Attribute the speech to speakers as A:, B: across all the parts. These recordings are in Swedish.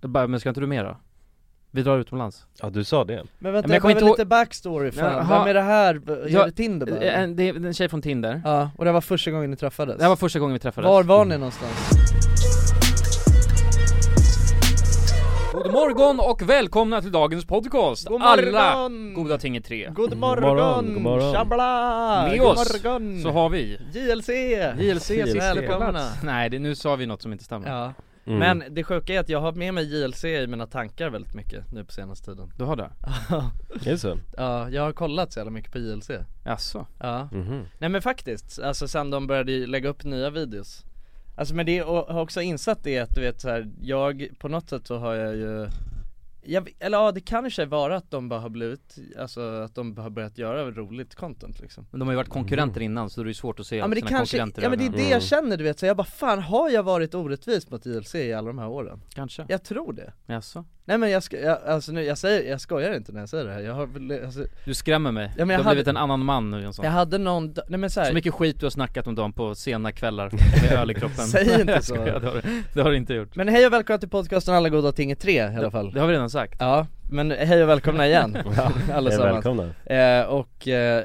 A: Jag bara, men ska inte du med då? Vi drar utomlands
B: Ja du sa det?
C: Men vänta,
A: Men jag
C: jag
A: kommer
C: behöver
A: inte
C: lite backstory fan,
A: Men,
C: vem
A: ha-
C: är det här? Är
A: Ja,
C: det Tinder bara?
A: Eh, en- Det är en tjej från Tinder
C: Ja, och det var första gången ni träffades?
A: Det här var första gången vi träffades
C: Var var ni någonstans?
A: God morgon och välkomna till dagens podcast!
C: God
A: Alla
C: morgon!
A: goda ting är tre
C: God
B: morgon,
C: morgon!
B: god morgon.
C: Tjabla!
A: Med
C: god
A: oss
C: morgon!
A: så har vi
C: JLC!
A: JLC sitter på
C: Välkomna.
A: plats Nej det, nu sa vi något som inte stämmer
C: Ja,
B: Mm.
C: men det sjuka är att jag har med mig JLC i mina tankar väldigt mycket nu på senaste tiden
A: Du har det?
B: Är det så?
C: Ja, jag har kollat så jävla mycket på JLC
A: Jaså?
C: Ja,
B: Mhm.
C: nej men faktiskt, alltså sen de började ju lägga upp nya videos Alltså men det, och har också insett det att du vet så här, jag, på något sätt så har jag ju jag, vet- eller ja det kan i och för sig vara att de bara har blivit, alltså att de har börjat göra roligt content liksom
A: Men de har ju varit konkurrenter innan så det är ju svårt att se
C: Ja men det
A: sina
C: kanske,
A: konkurrenter Mm. i
C: ja men det är
A: ögonen.
C: det jag känner du vet, så jag bara fan har jag varit orättvis mot JLC i alla de här åren?
A: Kanske,
C: Jag tror det
A: jaså?
C: Nej men jag, ska, jag, alltså nu, jag, säger, jag skojar inte när jag säger det här, jag har väl- alltså,
A: Du skrämmer mig,
C: Ja, men
A: du
C: jag
A: har
C: hade-
A: blivit en annan man nu Jonsson
C: jag hade någon, dag- nej men
A: Så
C: såhär,
A: mycket skit du har snackat om dem på sena kvällar med öl i kroppen
C: Säg inte
A: Jag
C: så.
A: skojar, det, har, du- det har du inte gjort
C: men hej och välkomna till podcasten alla goda ting är tre i alla fall
A: Det har vi redan sagt
C: Ja, men hej och välkomna igen
B: Ja,
C: allesammans
B: Välkomna
C: eh, Och, eh,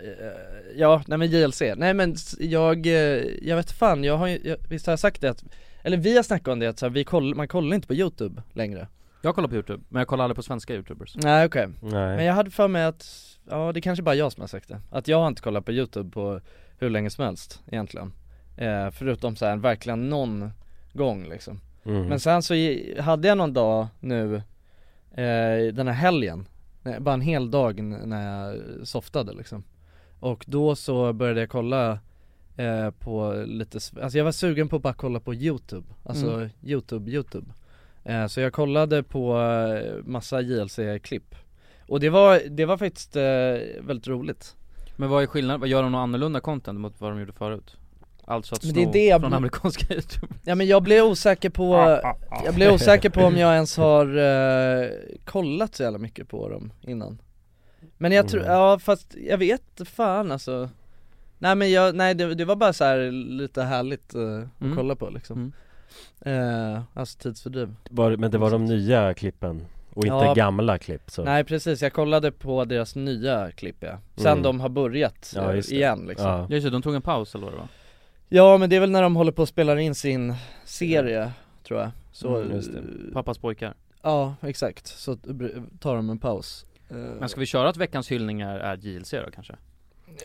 C: ja, nej men JLC, nej men s- jag, eh, jag vet fan, jag har ju- jag, visst har jag sagt det att eller vi har snackat om det att så här, vi koll, man kollar inte på youtube längre
A: Jag kollar på youtube, men jag kollar aldrig på svenska youtubers
C: Nej okej, men
B: Nej
C: jag hade för mig att, ja det kanske bara jag som har sagt det Att jag har inte kollat på youtube på hur länge som helst egentligen eh, Förutom så här, verkligen någon gång liksom
B: mm.
C: Men sen så i- hade jag någon dag nu, eh, den här helgen, nej, bara en hel dag n- när jag softade liksom Och då så började jag kolla eh, på lite, s- alltså jag var sugen på att bara kolla på youtube, alltså
A: Mm.
C: youtube, youtube eh, Så jag kollade på eh, massa JLC-klipp Och det var, det var faktiskt eh, väldigt roligt
A: Men vad är skillnaden, vad gör de något annorlunda content mot vad de gjorde förut? Alltså att
C: Men
A: sno
C: det är det jag
A: från
C: blir-
A: amerikanska youtube
C: Ja men jag blev osäker
B: Ah,
C: på, jag blev osäker på om jag ens har eh, kollat så jävla mycket på dem innan Men jag tror,
B: Mm.
C: ja fast jag vet fan alltså Nej men jag, nej det, det var bara så här lite härligt eh, att
A: Mm.
C: kolla på liksom
B: Mm.
C: eh, Alltså tidsfördriv
B: Var, men det var de nya klippen och inte
C: Ja.
B: gamla klipp så
C: Nej precis, jag kollade på deras nya klipp ja. Sen
B: Mm.
C: de har börjat
B: Ja,
C: eh,
B: just det.
C: igen liksom ja.
B: ja.
A: Just det, de tog en paus eller vad det var?
C: men det är väl när de håller på och spelar in sin serie tror jag så,
B: Mm, just det.
A: Pappas pojkar
C: Ja, exakt. Så br- tar de en paus. Eh,
A: Men ska vi köra att veckans hyllningar är JLC då kanske?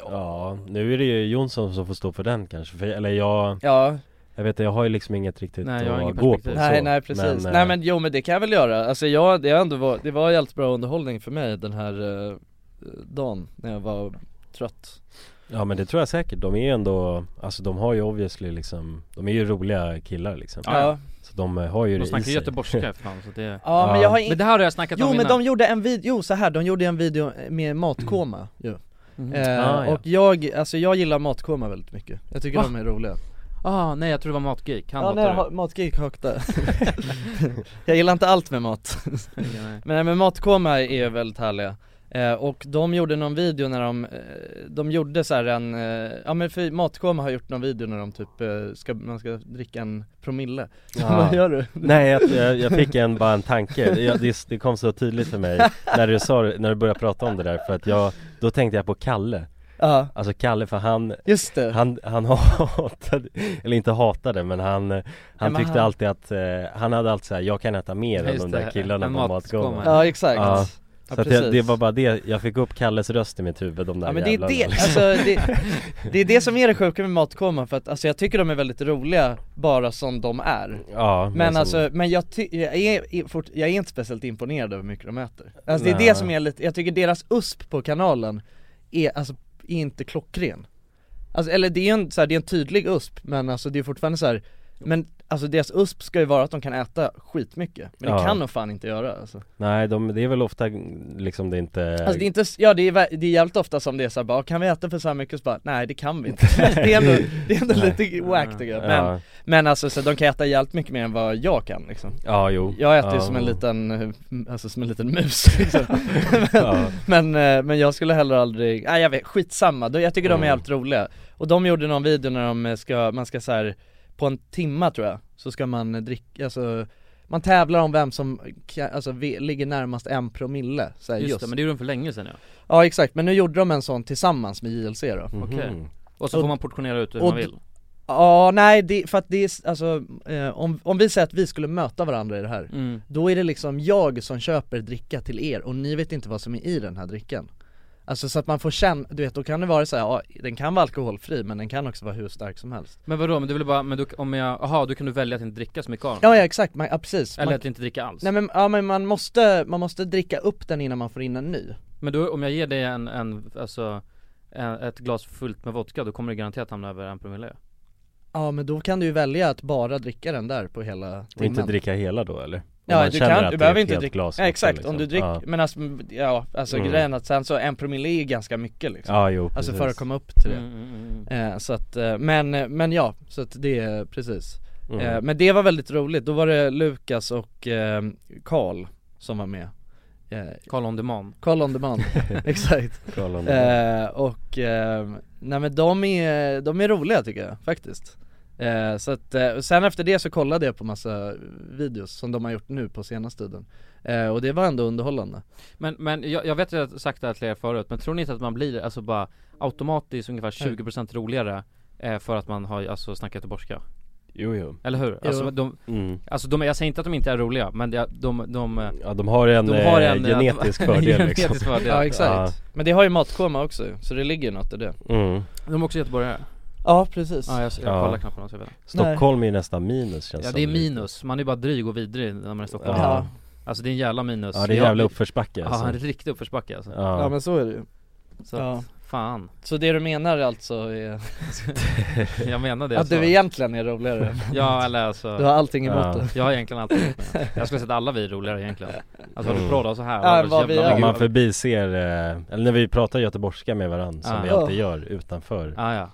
B: ja, nu är det ju Jonsson som får stå för den kanske, för, eller jag,
C: Ja,
B: jag vet inte, jag har ju liksom inget riktigt
A: Nej, jag har
B: att
A: inget
B: gå på
A: perspektiv.
B: så.
C: nej nej precis.
B: eh,
C: nej men jo men det kan jag väl göra. Alltså jag, det, har ändå var, det var jävligt bra underhållning för mig den här eh, dagen när jag var trött.
B: Ja men det tror jag säkert, de är ju ändå, alltså de har ju obviously liksom, de är ju roliga killar liksom
A: Ah, Ja, ja.
C: Ja,
B: Så de eh, har ju
A: De
B: det i
A: snackar
B: sig
A: göteborgska för fan så det
C: ja men
B: Ja.
C: jag har
A: Men
C: inte
A: det här har jag snackat
C: Jo
A: om
C: men
A: innan
C: de gjorde en video, jo så här, de gjorde en video med matkoma ju.
A: Mhm.
C: Eh,
B: Ah, ja.
C: Och jag, alltså jag gillar matkoma väldigt mycket. Jag tycker
A: Va?
C: de är roliga.
A: Ah nej jag tror det var matgeek, han
C: ja nej,
A: hatar
C: ha- matgeek hakta. jag gillar inte allt med mat.
A: det Ja, nej.
C: Men, men Matkoma är väldigt härliga eh, Och de gjorde någon video när de, eh, de gjorde så här en, eh, ja men för Matkoma har gjort någon video när de typ, eh, ska, man ska dricka en promille Vad
B: ja.
C: gör du?
B: Nej jag, jag, jag fick en, bara en tanke, jag, det, det kom så tydligt för mig när du sa, det- när du började prata om det där för att jag, då tänkte jag på Kalle
C: Ja,
B: Alltså Kalle för han,
C: just det
B: han, han hatade, eller inte hatade men han, eh, han
C: men
B: tyckte
C: han-
B: alltid att, eh, han hade alltid såhär, jag kan äta mer än
A: Just
B: de
A: det,
B: där killarna
A: en
B: på
A: matskomma.
B: matgången
C: Ja exakt
B: Ja,
C: Ja,
B: Så att
C: precis.
B: jag, det var bara det, jag fick upp Kalles röst i mitt huvud de där
C: Ja men det är
B: jävlarna,
C: det,
B: liksom.
C: alltså det, det är det som är det sjuka med Matkoma för att alltså jag tycker de är väldigt roliga bara som de är
B: Ja,
C: Men
B: som-
C: alltså, men jag, ty- jag, är, är fort- jag är inte speciellt imponerad över hur mycket de äter Alltså det är
B: Nej.
C: det som är lite, jag tycker deras USP på kanalen är, alltså, är inte klockren Alltså eller det är en, så här, det är en tydlig USP men alltså det är fortfarande så här. men alltså deras USP ska ju vara att de kan äta skitmycket Men det
B: Ja.
C: kan de fan inte göra alltså.
B: Nej, de, det är väl ofta liksom det inte
C: alltså det är inte, ja det är, vä- det är jävligt ofta som det är såhär bara, kan vi äta för så här mycket? Så bara, nej det kan vi inte Det är ändå, det är ändå lite wack tycker jag, men,
B: ja,
C: men alltså så de kan äta jävligt mycket mer än vad jag kan liksom
B: ja, jo
C: Jag äter ju
B: ja,
C: som en
B: jo.
C: liten, eh, alltså som en liten mus liksom.
B: ja.
C: men, eh, men jag skulle heller aldrig, nej jag vet, skitsamma, Då- jag tycker de är
B: Mm.
C: jävligt roliga Och de gjorde någon video när de eh, ska, man ska så här på en timma tror jag, så ska man eh, dricka, alltså man tävlar om vem som kan, alltså, vi, ligger närmast en promille så här,
A: Just,
C: just,
A: det, men det gjorde de för länge sedan ja.
C: Ja exakt, men nu gjorde de en sån tillsammans med JLC då
B: Mhm.
A: Okej. Och så
C: Och-
A: får man portionera ut hur
C: och
A: man vill.
C: Ja nej, det, för att det är, s- alltså, eh, om, om vi säger att vi skulle möta varandra i det här
A: Mm.
C: Då är det liksom jag som köper dricka till er och ni vet inte vad som är i den här drickan Alltså så att man får känna, du vet då kan det vara så här, ja, den kan vara alkoholfri men den kan också vara hur stark som helst
A: Men vadå, men du vill bara, men du, om jag, aha, då kan du välja att inte dricka så mycket av den?
C: Ja ja exakt, man, ja, precis
A: Eller
C: man,
A: att inte dricka alls?
C: Nej men, ja, men man, måste, man måste dricka upp den innan man får in en ny
A: Men då, om jag ger dig en, en alltså en, ett glas fullt med vodka, då kommer du garanterat hamna över en promille
C: Ja men då kan du ju välja att bara dricka den där på hela
B: Och inte
C: timmen.
B: dricka hela då eller? Om
C: Ja
B: man
C: du
B: känner
C: kan,
B: att det
C: du
B: är
C: behöver
B: ett
C: inte
B: helt
C: dricka,
B: glas
C: ja,
B: också,
C: exakt,
B: liksom.
C: om du dricker,
B: Ja,
C: men alltså, ja alltså
B: Mm.
C: grejen är att sen så en promille är ju ganska mycket liksom
B: ja jo
C: Alltså
B: precis.
C: för att komma upp till det
A: Mm, mm, mm.
C: Eh, Så att, eh, men, eh, men ja, så att det, är precis
B: Mm.
C: Eh, Men det var väldigt roligt, då var det Lukas och eh, Karl som var med Eh,
A: Karl on demand
C: Karl on demand, exakt
B: Kolla om det-
C: eh, Och, eh, nej men de är, de är roliga tycker jag faktiskt eh, Så att, eh, och sen efter det så kollade jag på massa videos som de har gjort nu på senaste tiden eh, Och det var ändå underhållande
A: Men, men jag, jag vet att jag har sagt det här till er förut, men tror ni inte att man blir alltså bara automatiskt ungefär 20% roligare eh, för att man har alltså snackat göteborgska?
B: Jo jo
A: Eller hur? Alltså, de,
B: mm.
A: alltså de, jag säger inte att de inte är roliga, men de, de, de eh,
B: Ja de har en,
A: De har en,
B: eh, genetisk fördel
A: genetisk
B: liksom
A: fördel.
C: Ja exakt,
B: Ja.
C: men det har ju matkoma också så det ligger ju något i det
B: mm.
A: De är också göteborgare
C: Ja precis
A: Ja jag, jag
B: Ja.
A: kollar knappt på dem så jag vet inte.
B: Stockholm är ju nästan minus känns
A: Ja
B: som
A: det är minus, man är bara dryg och vidrig när man är i Stockholm
C: Ja.
A: Alltså det är en jävla minus
B: Ja det är
A: Jag-
B: jävla uppförsbacke
A: Ja en
B: alltså.
A: riktig uppförsbacke alltså
B: Ja,
C: Ja men så är det ju
A: Så
C: Ja.
A: att, fan,
C: Så det du menar alltså är
A: jag menar det
C: att
A: så.
C: du egentligen är roligare?
A: Ja eller
C: Du
A: alltså,
C: har allting emot
B: Ja.
C: det?
A: jag har egentligen alltid gjort det. Jag skulle sett att alla vi är roligare egentligen Alltså mm.
B: Mm.
A: du pratar så här,
C: Ja,
A: alla är så
C: vad vi
A: jävla
C: gör.
B: Om man
A: mycket-
B: förbiser, eh, eller när vi pratar göteborgska med varandra som
A: Ja.
B: vi alltid gör utanför
A: ja, ja.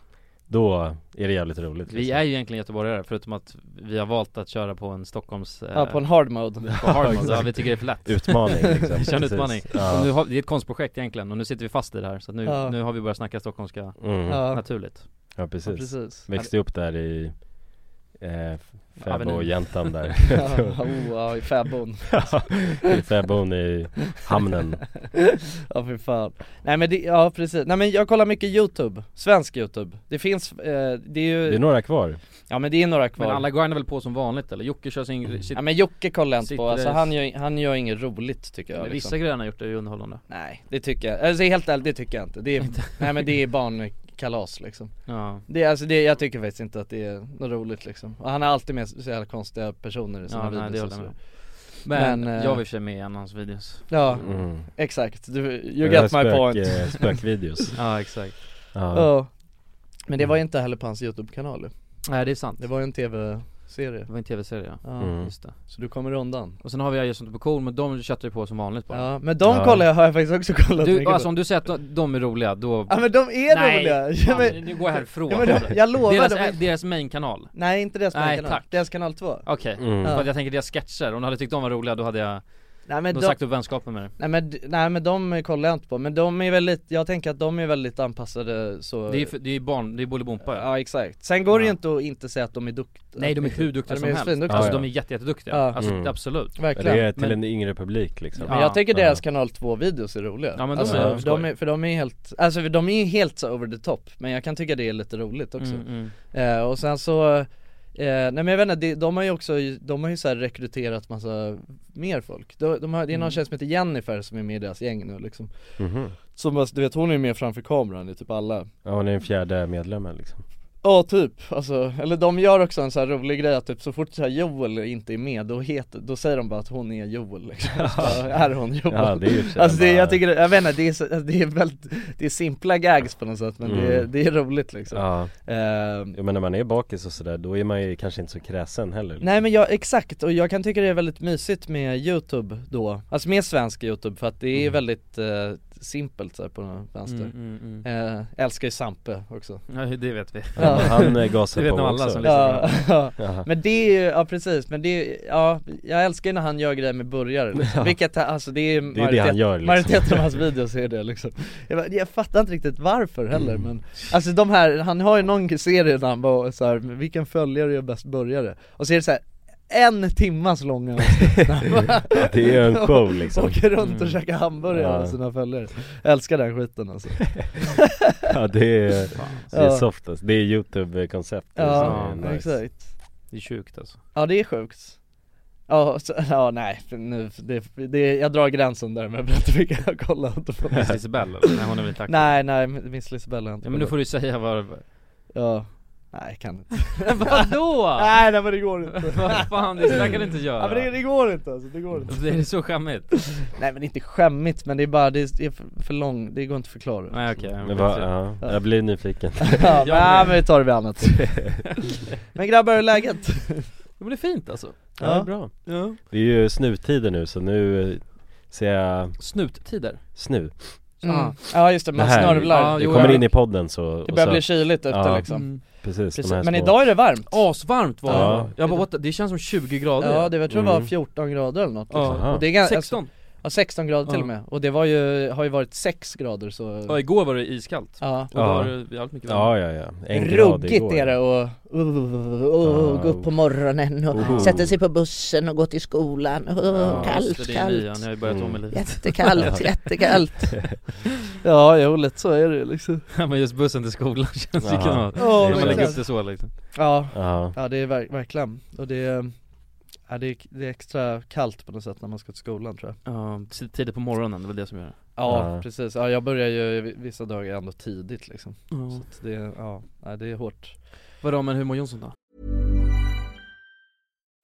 B: Då är det jävligt roligt liksom.
A: Vi är ju egentligen göteborgare förutom att vi har valt att köra på en Stockholms eh,
C: Ja på en hard mode
A: på hard mode. ja,
B: exakt.
A: vi tycker det är för lätt
B: Utmaning liksom
A: Vi kör en
B: precis.
A: utmaning. Och
B: ja.
A: nu har, det är ett konstprojekt egentligen och nu sitter vi fast i det här så att nu,
C: Ja.
A: nu har vi börjat snacka stockholmska
B: Mm. Ja.
C: Ja,
A: naturligt
C: ja
B: precis
C: precis
B: Växte upp där i eh, Fäbo
A: Avenyn.
B: och Jäntan där
C: Ja, oh, ja i fäbon
B: I Fäbon i hamnen
C: Ja fy fan Nej men det, ja precis, nej men jag kollar mycket youtube, svensk youtube Det finns, eh, det är ju,
B: Det är några kvar
C: ja men det är några kvar Mm.
A: Men alla grindar väl på som vanligt eller? Jocke kör sin, sitt,
C: Ja men Jocke kollar jag inte på,
A: Sitter-
C: alltså han gör, han gör inget roligt tycker jag liksom.
A: vissa grejer han har gjort är ju underhållande
C: Nej det tycker jag, alltså helt ärligt det tycker jag inte, det är, nej men det är barnkalas liksom
A: Ja,
C: Det, är- alltså det, jag tycker faktiskt inte att det är något roligt liksom. Och han har alltid med så jävla konstiga personer i sina
A: ja nej,
C: videos alltså.
A: det
C: och
A: håller jag med
C: så.
A: alltså. Men,
C: Men, eh,
A: jag var i och för sig med i en av hans videos
C: Ja,
B: mm.
C: exakt, du,
B: Det
C: you
B: där
C: got my
B: spök,
C: point
B: eh, Spökvideos
A: Ja exakt
B: ja.
C: Ja. Men det var ju inte heller på hans youtube-kanal
A: Nej det är sant
C: Det var ju en tv-serie
A: Det var en tv-serie
C: ja.
A: ja,
B: Mm.
A: just det
C: Så du kommer undan
A: Och sen har vi Agnes på cool, men de köttar ju på som vanligt bara
C: Ja, men de
B: Ja.
C: kollar jag, har jag faktiskt också kollat
A: Du,
C: mycket
A: alltså
C: på.
A: om du säger att de- de är roliga, då...
C: Ja men de är
A: Nej,
C: roliga! Ja,
A: fan,
C: men,
A: nu går jag härifrån
C: ja, men de, jag lovar,
A: Deras,
C: de är,
A: deras main-kanal
C: nej inte deras
A: Nej,
C: kanal,
A: tack.
C: deras kanal 2
A: Okej,
B: Mm.
A: för att jag tänker deras sketcher, om du hade tyckt de var roliga då hade jag,
C: Nej men
A: då
C: de,
A: sagt upp vänskapen med dig
C: nej, men, d- nej men de kollar jag inte på, men de är väldigt, jag tänker att de är väldigt anpassade så
A: Det är ju för- det är ju barn, det är Bolibompa ja.
C: Ja exakt, sen går det ju
A: Ja.
C: inte att inte säga att de är duktiga
A: Nej de är hur duktiga
C: Ja, de
A: som
C: är
A: helst,
C: svinduktiga.
A: alltså
B: Ja, ja.
A: de är jätte, jätteduktiga,
C: Ja.
A: alltså
B: Mm.
A: absolut
C: Verkligen
B: Det är till
A: Men-
B: en yngre publik liksom
A: Ja.
C: Men jag tycker
B: Ja.
C: deras kanal 2 videos är roliga
A: Ja, men de
C: alltså,
B: är
C: de
A: skoj.
C: är, för de är helt, alltså de är helt så over the top Men jag kan tycka det är lite roligt också
A: Mm, mm.
C: eh, Och sen så, eh, nej men jag vet inte, de, de har ju också, de har ju så här rekryterat massa mer folk de, de har, Det är någon
A: Mm.
C: tjej som heter Jennifer som är med i deras gäng nu liksom
B: Mhm.
C: Som, alltså, du vet hon är ju med framför kameran i typ alla
B: Ja hon är den fjärde medlemmen liksom
C: Ja typ, alltså, eller de gör också en så här rolig grej att typ så fort så här Joel inte är med då, heter, då säger de bara att hon är Joel liksom. Så bara, är hon Joel?
B: Ja det är ju för
C: Alltså det,
B: sig
C: jag
B: Typ, bara-
C: tycker, jag vet inte, det är, så, alltså, det är väldigt, det är simpla gags på något sätt men det, är,
B: Mm.
C: det är roligt liksom
B: Ja,
C: Ehm,
B: jo, men när man är bakis och sådär då är man ju kanske inte så kräsen heller liksom.
C: Nej men jag, exakt, och jag kan tycka det är väldigt mysigt med youtube då, alltså med svensk youtube för att det är
B: Mm.
C: väldigt eh, simpelt så här, på någon vänster
A: Mm, mm, mm.
C: Eh, Älskar ju Sampe också
A: Nej, det vet vi
B: Ja,
C: Ja.
B: Han eh, gasar
A: Det vet
B: på
A: nog alla
B: också.
A: som lyssnar.
C: Ja, ja.
B: Ja.
C: Men det är ju, ja precis, men det är, ja, jag älskar ju när han gör grejer med burgare liksom.
B: Ja.
C: Vilket, alltså det är ju
B: Det är ju det han gör liksom.
C: majoriteten av hans videos är det liksom jag, bara, jag fattar inte riktigt varför heller men Alltså de här, han har ju någon serie där han bara så här, vilken följare gör bäst burgare? Och så är det så här en timmas långa avsnitt när man
D: Det är ju en show liksom
C: åker runt och
A: Mm.
C: käkar hamburgare
D: Ja.
C: med sina följare Älskar den skiten alltså
D: Ja det är,
A: Fan,
D: det är
C: Ja.
D: soft alltså. det är youtube-koncept
C: Ja,
A: nice.
C: exakt
A: det är sjukt alltså
C: Ja det är sjukt Ja, så, ja nej, för nu, det, det, jag drar gränsen där men jag berättar vilka jag har kollat på
A: Miss Isabelle, eller? nej hon är väl inte aktiv?
C: Nej nej, Miss Lisabella har jag inte
A: Ja, men nu
C: kollat.
A: får du säga vad
C: Ja, nej jag kan inte
A: Vadå?
C: Nej nej men det går inte
A: vad fan, det där kan du inte göra
C: Ja men det, det går inte alltså, det går inte
A: Det är så skämmigt
C: Nej men inte skämmigt men det är bara, det är, det är för, för lång, det går inte att förklara
A: Nej okej,
D: Det
A: men
D: var,
A: det-
D: ja, jag blir nyfiken
C: ja,
A: Jag
C: men, ja,
A: med.
C: men vi tar det vid annat Men grabbar, hur är läget?
A: Ja, men det är fint alltså
D: Ja, det är
C: Ja.
D: bra
A: ja.
D: Det är ju snuttider nu så nu eh, ser jag
A: Snuttider
D: snu
C: Mm. Ja just det, man
D: Det här-
C: snörvlar
A: Ah. Ja,
D: Det
A: jo,
D: kommer
A: jag-
D: in i podden så,
C: Det
D: och
C: börjar
D: så
C: bli kyligt ute
D: Ja.
C: liksom
A: mm.
D: precis, de
C: Precis.
D: här
C: Men
D: små-
C: idag är det varmt
A: Asvarmt var det
D: Ja.
A: Jag bara what the, det känns som 20 grader
C: Ja, det var, jag tror det var
D: Mm.
C: 14 grader eller något liksom.
D: Aha.
C: och det är ganska, 16?
A: 16!
C: Alltså, ja, 16 grader till
A: Ja.
C: och med, och det var ju, har ju varit 6 grader så
A: Ja igår var det iskallt,
C: Ja,
A: och
D: Ja.
A: då var det allt mycket varmare
D: Ja ja ja, en grad
E: Ruggigt är det och och- och- och gå upp på morgonen och
D: Oh.
E: sätta sig på bussen och gå till skolan. Oh,
A: Ja, just
E: kallt,
A: det, det är nian,
E: kallt.
A: jag har ju börjat om i
D: Mm.
A: livet
E: Jättekallt, jättekallt.
C: ja jo lätt så är det liksom
A: Ja men just bussen till skolan känns ju
D: Jaha.
A: kan
C: Ja,
D: Det är
A: man
D: så
A: lägger
D: exakt.
A: upp det så liksom
C: ja,
D: Ja,
C: ja det är verk- verkligen, och det är, ja, det, är, det är extra kallt på något sätt när man ska till skolan tror jag
A: Ja, tid- tidigt på morgonen, det var det som gör det
C: Ja,
D: Ja.
C: precis, ja jag börjar ju v- vissa dagar ändå tidigt liksom
A: ja.
C: Så att det, ja, nej, det är hårt
A: Vadå men hur mår Jonsson då?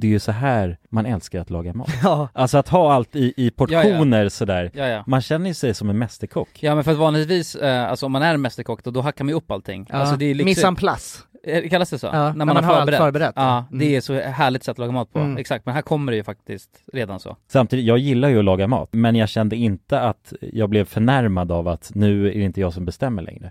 B: det är ju så här man älskar att laga mat.
C: Ja,
B: Alltså att ha allt i, i portioner sådär.
D: Mm.
F: Ja, ja.
B: Man känner ju sig som en mästerkock.
F: Ja men för att vanligtvis, eh, alltså om man är en mästerkock då, då hackar man ju upp allting.
C: ja.
F: Alltså det är
C: Mise en
F: liksom,
C: place,
F: eh, kallas det så?
C: typ- ja. när, man har allt förberett
F: Ja,
C: Mm.
F: det är så härligt sätt att laga mat på.
C: Mm.
F: Exakt, men här kommer det ju faktiskt redan så.
B: Samtidigt, jag gillar ju att laga mat, men jag kände inte att jag blev förnärmad av att nu är det inte jag som bestämmer längre.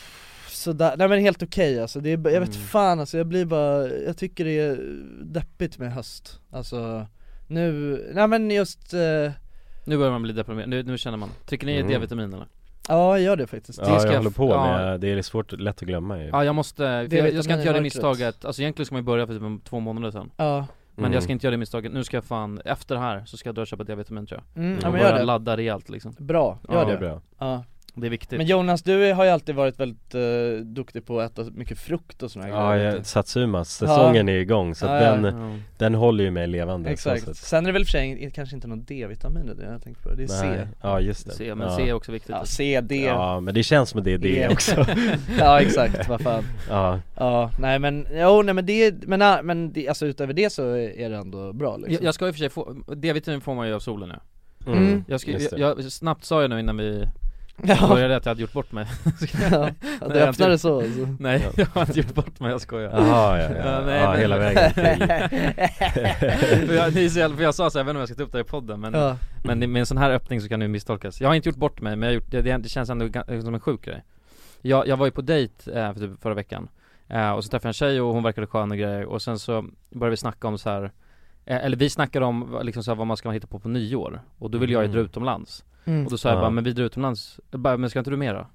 C: sådär, nej men helt okej alltså, det är, jag vet fan alltså, jag blir bara, jag tycker det är deppigt med höst Alltså, nu, nej men just, eh,
A: Nu börjar man bli deprimerad, nu, nu känner man. Trycker ni i
B: Mm.
A: D-vitamin eller?
C: ja jag gör det faktiskt
B: Ja,
A: ska
B: jag
A: jag-
B: håller på
A: ja.
B: med, det är svårt, lätt att glömma ju
A: Ja jag måste, för jag, jag ska inte göra det misstaget, alltså egentligen ska man ju börja för typ om två månader sedan
C: Ja.
A: Men
B: Mm.
A: jag ska inte göra det misstaget, nu ska jag fan, efter det här så ska jag dra och köpa D-vitamin tror jag
C: Mm, ja,
A: Och
C: men gör
A: börja
C: det.
A: ladda rejält liksom
C: Bra, gör
A: Ja,
C: det.
A: det är bra.
C: Ja.
A: Det är viktigt
C: Men Jonas, du är- har ju alltid varit väldigt eh, duktig på att äta mycket frukt och sådana här
B: Ja,
C: grejer
B: jag, Satsumas, säsongen
C: Ja.
B: är igång så att
C: Ja, ja.
B: den, den håller ju mig levande så
C: Exakt,
B: sätt.
C: sen är det väl för sig kanske inte någon D-vitamin i det jag tänkte på, det är
B: Nej.
C: C
B: Ja just det
A: C, men
B: ja.
A: C är också viktigt
C: Ja, C, D
B: Ja men det känns som det är det
C: E.
B: också
C: Ja exakt, vad fan
B: Ja
C: Ja, nej men, jo nej men det, men, ah, men det, alltså utöver det så är det ändå bra liksom
A: jag, jag ska i och för sig få, D-vitamin får man ju av solen nu
C: Mm. Mm.
A: jag, ska,
C: Just det.
A: jag, jag, snabbt sa jag nu innan vi
C: Ja.
A: började att jag hade gjort bort mig
C: Ja, att
A: Nej,
C: det
A: jag har inte
C: öppnade
A: gjort-
C: så, alltså.
A: Nej, jag har inte gjort bort mig, jag skojar
B: Jaha, ja, ja. Ja, hela vägen till-
A: För jag, ni är så jävla- för jag sa så, här, jag vet inte om jag ska ta upp det här i podden men,
C: Ja.
A: men det- med en sån här öppning så kan det ju misstolkas Jag har inte gjort bort mig men jag har gjort, det, det, det känns ändå ga- som en sjuk grej Jag, jag var ju på dejt eh, för typ förra veckan eh, och så träffade jag en tjej och hon verkade skön och grejer och sen så började vi snacka om så här eh, eller vi snackade om vad- liksom så här, vad man ska hitta på på nyår och då ville jag ju dra
B: Mm.
A: utomlands
C: Mm.
A: Och då sa jag
B: Ja.
A: bara, men vi drar utomlands, jag bara, men ska inte du med då?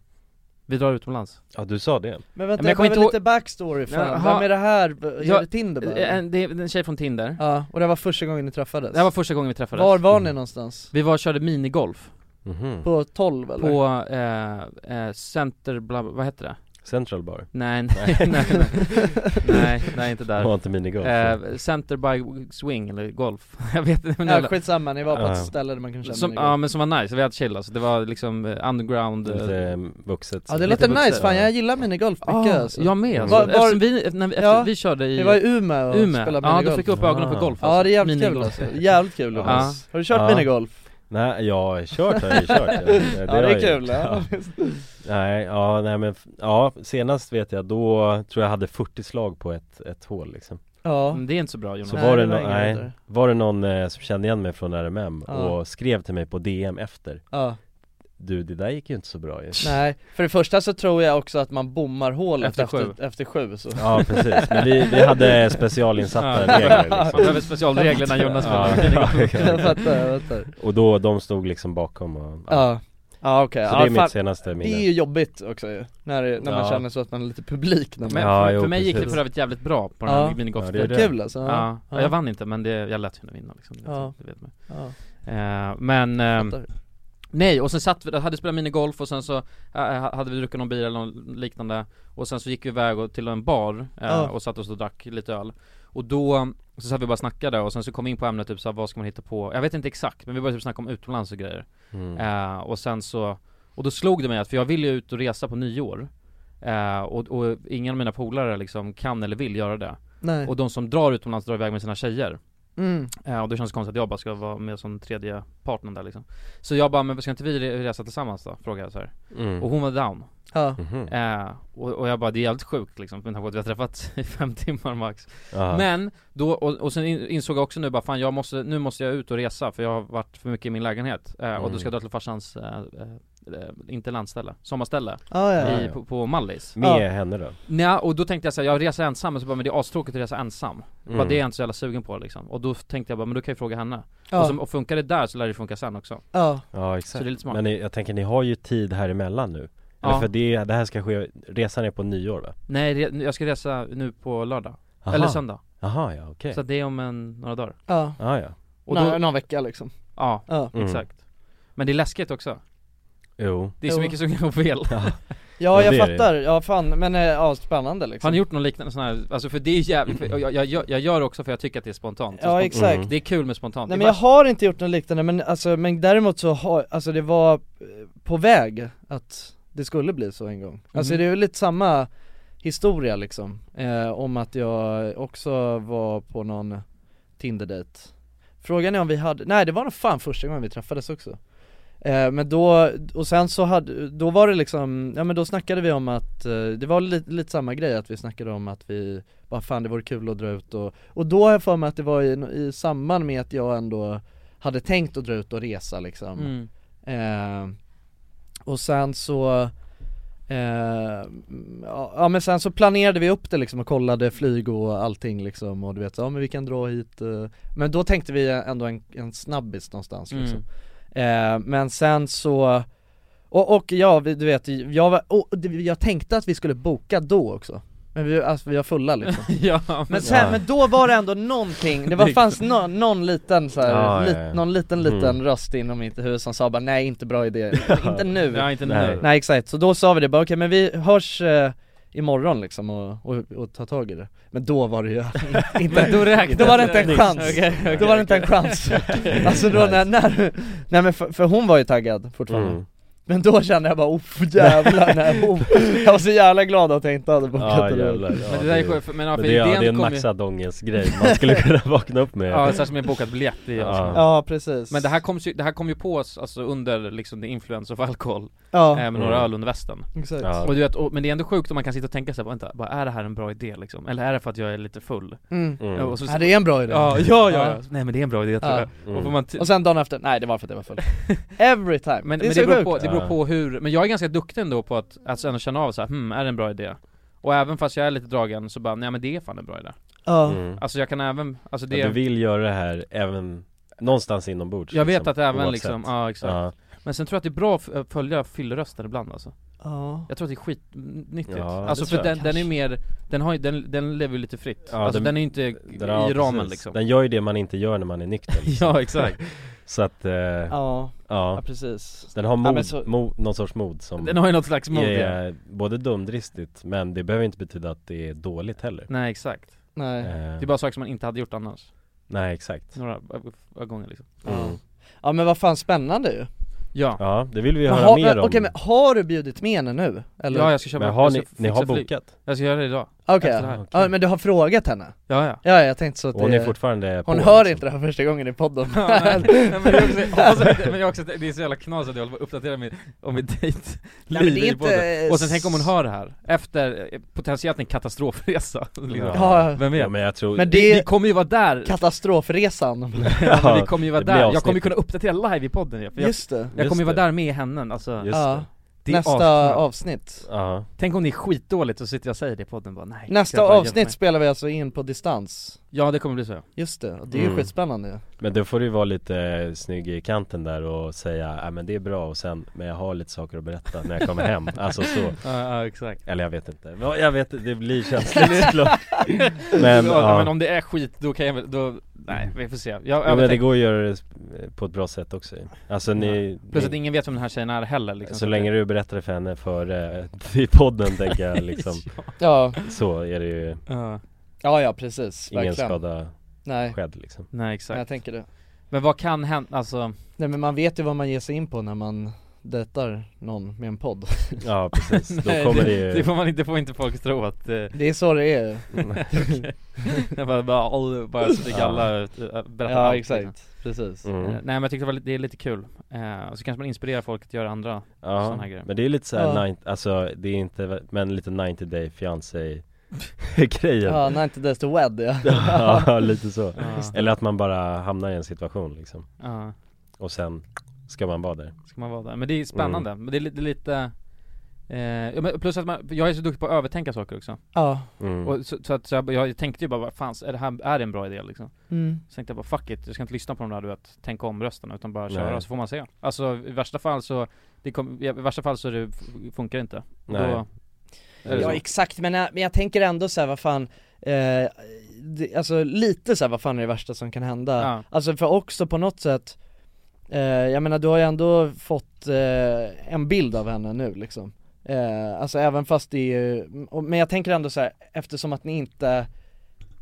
A: Vi drar utomlands
B: Ja du sa det
C: Men vänta,
A: Men jag
C: jag
A: kommer
C: behöver
A: inte ihåg-
C: lite backstory fan,
A: Jaha.
C: vem är det här? Är
A: Ja, eh,
C: det Tinder bara? eller?
A: en, det är en tjej från Tinder
C: Ja, och det var första gången ni träffades?
A: Det här var första gången vi träffades Mm.
C: Var var ni någonstans?
A: Vi var och körde minigolf
B: Mm-hmm.
C: På 12 eller?
A: På, eh, eh, center, bla, vad heter det?
B: Central bar
A: Nej, nej, nej, nej, nej, nej inte där
B: Det var inte minigolf.
A: eh, Center by swing eller golf, jag vet inte men
C: Ja,
A: jävla-
C: skitsamma, ni var på ett
A: Ja.
C: ställe där man kunde köra
A: som,
C: minigolf.
A: Ja men som var nice, vi hade chill alltså. det var liksom eh, underground eh,
B: Lite vuxet
C: Ja det låter nice fan, jag gillar minigolf mycket
A: Ja,
C: alltså.
A: jag med alltså.
C: Var- var-
A: Eftersom vi, när vi, efter
C: Ja,
A: vi körde i
C: vi var i Umeå och spelade
A: Ja, då
C: minigolf.
A: fick jag upp ögonen för
C: Ah.
A: golf
C: Ja, det är jävligt kul,
A: Minigolf.
C: alltså. Jävligt kul, Jonas. Har du kört minigolf?
B: Nej, jag har kört har jag ju kört Ja,
C: Ja, det
B: har
C: är
B: jag
C: kul,
B: gjort.
C: ja.
B: Nej, ja nej men f- ja senast vet jag då tror jag hade 40 slag på ett, ett hål liksom
C: Ja.
A: Men Mm, det är inte så bra Jonas
B: Så var det, nå-
C: ingen
B: nej,
C: vidare.
B: var det någon eh, som kände igen mig från RMM
C: Ja.
B: och skrev till mig på DM efter
C: Ja.
B: Du det där gick ju inte så bra ju
C: Nej, för det första så tror jag också att man bommar hålet
A: Efter
C: efter,
A: sju.
C: efter, sju så
B: Ja precis, men vi, vi hade specialinsatta
A: Ja.
B: regler liksom.
A: Man behöver specialregler när Jonas
B: Ja,
A: spelar minigolf.
B: ja, ja.
C: Jag fattar, jag fattar.
B: Och då, de stod liksom bakom och
C: Ja, ja okej
B: Så det
C: ja,
B: är mitt
C: fan,
B: senaste minne
C: Det är ju jobbigt också ju, när, det- när man
B: Ja.
C: känner så att man är lite publik när man
A: Men
B: Ja,
A: för,
B: jo,
A: för mig gick det
B: precis.
A: för övrigt jävligt bra på den
C: Ja.
A: här minigolfen
C: Ja, det är det. Kul alltså, ja.
A: ja.
C: Ja.
A: Jag vann inte men det, jag lät henne vinna liksom, det,
C: Ja.
A: det vet man
C: Ja.
A: Eh, Men, ehm,
C: Fattar.
A: nej och sen satt vi, hade spelat minigolf och sen så eh, hade vi druckit någon bira eller något liknande Och sen så gick vi iväg och- till en bar eh,
C: Ja.
A: och satt oss och drack lite öl Och då, så satt vi och bara snackade och sen så kom vi in på ämnet typ så här, vad ska man hitta på? Jag vet inte exakt men vi började typ snacka om utomlands och grejer
B: Mm.
A: Eh, och sen så, och då slog det mig att, för jag vill ju ut och resa på nyår eh, och, och ingen av mina polare liksom kan eller vill göra det
C: Nej.
A: Och de som drar utomlands drar iväg med sina tjejer
C: Mm.
A: eh, Och då känns det konstigt att jag bara ska vara med som tredje partnern där liksom Så jag bara, men ska inte vi re- resa tillsammans då? Frågade jag så här.
B: Mm. Mhm.
A: Och hon var down
C: Ja.
A: eh, och, och jag bara, det är jävligt sjukt liksom, med tanke på att vi har träffats i fem timmar max
B: Ja.
A: Men, då, och, och sen in- insåg jag också nu bara, fan
C: Mm.
A: jag måste, nu måste jag ut och resa för jag har varit för mycket i min lägenhet eh, och då ska jag dra till farsans eh, eh, eh, inte landställe, sommarställe
C: Ah, ja, ja,
A: i,
C: ja.
A: På, på Mallis
B: Med Ja. henne då?
A: Nej, och då tänkte jag såhär, jag reser ensam och så bara, men det är astråkigt att resa ensam
B: Mm.
A: Bara det är jag inte så jävla sugen på liksom Och då tänkte jag bara, men då kan jag fråga henne
C: Ja.
A: och, som, och funkar det där så lär det funka sen också
C: Ja.
B: Ja
A: Så
B: exakt,
A: det är lite smart
B: men ni, jag tänker ni har ju tid här emellan nu
A: Ja.
B: Eller för det, det här ska ske, resan är på nyår va?
A: Nej, re- jag ska resa nu på lördag
B: Aha.
A: Eller söndag
B: Aha, ja, okej.
A: Så det är om en, några dagar
C: Ja.
B: Ah, ja.
C: Nå- någon vecka liksom.
A: Ja,
C: Ja. Mm.
A: exakt Men det är läskigt också
B: Jo
A: Det är så
C: Jo.
A: mycket som kan gå fel
B: Ja,
C: Ja jag fattar, ja fan men eh, ja spännande liksom
A: Har ni gjort någon liknande sån här, alltså för det är jävligt, för jag, jag, jag, jag gör det också för jag tycker att det är spontant Så
C: Ja,
A: spont-
C: exakt. Mm.
A: Det är kul med spontant
C: Nej
A: Det
C: men
A: är
C: jag har inte gjort något liknande men alltså, men däremot så har, alltså det var eh, på väg att det skulle bli så en gång Alltså
A: Mhm.
C: det är ju lite samma historia liksom, eh, om att jag också var på någon Tinder-dejt Frågan är om vi hade, nej det var nog fan första gången vi träffades också eh, Men då, och sen så hade, då var det liksom, ja men då snackade vi om att, eh, det var lite, lite samma grej att vi snackade om att vi, bara fan det vore kul att dra ut och, och då har jag för mig att det var i, i samband med att jag ändå hade tänkt att dra ut och resa liksom
A: Mm.
C: eh, Och sen så Eh, ja ja, men sen så planerade vi upp det liksom och kollade flyg och allting liksom och du vet, ja men vi kan dra hit eh. Men då tänkte vi ändå en, en snabbis någonstans liksom eh, Men sen så och, och ja, vi, du vet, jag, var, och, det- jag tänkte att vi skulle boka då också Men vi, alltså, vi var fulla liksom
A: Ja,
C: Men sen, men då var det ändå någonting, det var, fanns no, någon liten så här,
B: Ja,
C: lit,
B: ja, ja.
C: någon liten liten
B: Mm.
C: röst inom mitt huvud som sa bara nej inte bra idé, inte nu
A: Ja, inte nu.
C: Nej. Nej exakt, så då sa vi det bara okej men vi hörs eh, imorgon liksom och, och, och ta tag i det Men då var det ju inte,
A: Men då räknas
C: då var det inte
A: det.
C: en chans,
A: Okej, okej,
C: då var det inte en
A: okej.
C: chans Alltså då när, när, nej men för, för hon var ju taggad fortfarande
B: Mm.
C: Men då kände jag bara oh jävlar, nej, oh. jag var så jävla glad att jag inte hade bokat
B: Ja
C: det där.
B: Ah, jävlar, ja,
A: Men det där är skönt, för- men ja, för
B: det, ja,
A: idén
B: det är en
A: kom ju-
B: maxad ångestgrej man skulle kunna vakna upp med
A: Ja, särskilt med bokat biljett det är jag som-
C: Ja, precis.
A: Men det här kom ju, det här kom ju på oss alltså under liksom the influence of alkohol
C: Ja.
A: eh, Med några
B: Mm.
A: öl under västen
C: Exakt.
B: Ja.
A: och du vet, och, men det är ändå sjukt om man kan sitta och tänka sig vänta, bara, är det här en bra idé liksom? Eller är det för att jag är lite full?
C: Mm.
A: Ja, och så-
C: Ja, det är en bra idé.
A: Ja, ja, ja, ja.
C: Ja.
A: nej men det är en bra idé tror
C: Ja.
A: jag
C: Mm.
A: och, får man ty-
C: Och sen dagen efter, nej det var för att jag var full Every time,
A: Men, det,
C: det är
A: men
C: så
A: det, beror
C: sjukt.
A: på, det beror på hur, men jag är ganska duktig ändå på att, alltså ändå känna av så här, hmm, är det en bra idé? Och även fast jag är lite dragen så bara, nej men det är fan en bra idé
C: Ja.
B: Mm.
A: Alltså jag kan även, alltså det
B: det... Du vill göra det här även någonstans inombords
A: Jag vet
B: liksom,
A: att även
B: oavsett.
A: liksom, ja exakt
B: Ja.
A: Men sen tror jag att det är bra att f- följa fyllerösten ibland alltså
C: Ja.
A: Jag tror att det är skitnyttigt,
B: Ja, det
A: alltså
B: tror
A: för
B: jag.
A: den, den är mer, den, har, ju- den, den lever ju lite fritt,
B: Ja,
A: alltså
B: den-
A: den, är ju inte i
B: Den- ja,
A: ramen
B: precis.
A: liksom
B: Den gör ju det man inte gör när man är nykter liksom.
A: Ja, exakt.
B: Så att, eh,
C: Ja.
B: ja
C: Ja, precis.
B: Den har
C: Ja, men
B: mod,
C: så-
B: mo, någon sorts mod som
A: Den har ju något slags mod,
B: är både dumdristigt men det behöver inte betyda att det är dåligt heller Eh,
A: Nej exakt
C: Nej.
A: Det är bara saker som man inte hade gjort annars
B: Nej exakt
A: Några ö- gånger liksom
B: Mm.
C: Ja men vad fan spännande ju
A: Ja
B: Ja, det vill vi
C: Men
B: höra
C: har-
B: mer
C: men-
B: om
C: Okej men har du bjudit med henne nu? Eller?
A: Ja jag ska köpa
B: Men har
A: jag
B: ni-
A: ska
B: ni har
A: fixa flyg.
B: bokat?
A: Jag ska göra det idag
C: Okej,
A: Efter det här.
C: ja, men du har frågat henne?
A: Ja, ja.
C: ja jag tänkte så att
B: Hon
A: eh,
C: det...
B: är fortfarande på,
C: Hon hör
B: liksom.
C: inte det här första gången i podden
A: Ja, men- men det är också- alltså, det- men jag också, det är så jävla knas att jag håller på att uppdatera min, om mitt dejt
C: Nej, men det är
A: i
C: inte-
A: podden. Och sen tänk om hon hör det här, efter eh, potentiellt en katastrofresa
C: Ja.
A: Vem vet?
B: Ja, men jag tror-
C: Men
A: men
C: det-
A: det... Vi kommer ju vara där,
C: Katastrofresan
A: ja, vi kommer ju vara
B: det blir
A: där, jag
B: avsnittet.
A: kommer ju kunna uppdatera live i podden ju, för jag,
C: Just det.
A: Jag
B: Just
A: kommer ju vara
B: det.
A: där med henne, alltså
B: Just Ja. det.
A: Det är
C: Nästa
A: asskönt.
C: avsnitt
B: Ja.
A: Tänk om det är skitdåligt och sitter jag och säger det i podden bara nej
C: Nästa
A: grabbar, hjälp
C: avsnitt
A: mig.
C: spelar vi alltså in på distans
A: Ja det kommer bli så
C: Just det, det är ju
B: Mm.
C: skitspännande ju.
B: Men då får du vara lite snygg i kanten där och säga ja men det är bra och sen Men jag har lite saker att berätta när jag kommer hem, alltså så
A: Ja, ja, exakt.
B: Eller jag vet inte, Ja, jag vet det blir känsligt såklart Men,
A: ja,
B: ja.
A: men om det är skit då kan jag väl, då, nej vi får se jag,
B: Jo, men det
A: övertänker.
B: går att göra det eh, på ett bra sätt också Alltså ni,
A: Plus att
B: ni
A: ingen vet vem den här tjejen är heller liksom,
B: så länge du berättade för henne före eh, i podden tänker jag liksom
C: Ja.
B: Så är det ju
A: Ja.
C: Ja ja precis,
B: Ingen
C: verkligen
B: skada
C: Nej.
B: skedd liksom
A: Nej
C: Men
A: exakt
C: jag tänker det
A: Men vad kan hända, alltså
C: Nej men man vet ju vad man ger sig in på när man dejtar någon med en podd
B: Ja precis, då
A: Nej,
B: kommer det ju
A: Det får man inte, får inte folk tro att eh,
C: Det är så det är
A: Okej. Jag bara, bara, all- bara så fick
C: Ja.
A: alla ut- äh, berätta
C: Ja,
A: allt,
C: exakt.
A: liksom.
C: Precis.
B: Mm.
A: Eh, Nej men jag tyckte det var, li- det är lite kul, eh, och så kanske man inspirerar folk att göra andra
B: Ja,
A: sådana här grejer
B: men det är lite såhär,
A: Ja.
B: ja. alltså det är inte, men lite 90 day fiancé grejen
C: Ja, 90 days to wed ja
B: Ja, lite så.
C: Ja.
B: Eller att man bara hamnar i en situation liksom
A: Ja.
B: Och sen ska man vara där
A: Ska man vara där. Men det är spännande,
B: Mm.
A: men det är, li- det är lite eh, ja, men plus att man, jag är så duktig på att övertänka saker också
C: Ja.
B: Mm.
A: och så, så, att, så jag, jag tänkte ju bara, vad fan, är det här är det en bra idé liksom?
C: Mm.
A: Så tänkte jag bara, fuck it, jag ska inte lyssna på de där du vet, tänka om rösterna utan bara köra
B: Nej.
A: så får man se Alltså i värsta fall så, det kom, i värsta fall så är det, funkar det inte
B: Nej.
A: Då, är det
C: Ja
A: så.
C: exakt, men jag, men jag tänker ändå såhär vad fan eh, det, Alltså lite såhär vad fan är det värsta som kan hända?
A: Ja.
C: Alltså för också på något sätt eh, Jag menar du har ju ändå fått eh, en bild av henne nu liksom eh, Alltså även fast det är ju- och- men jag tänker ändå så här, eftersom att ni inte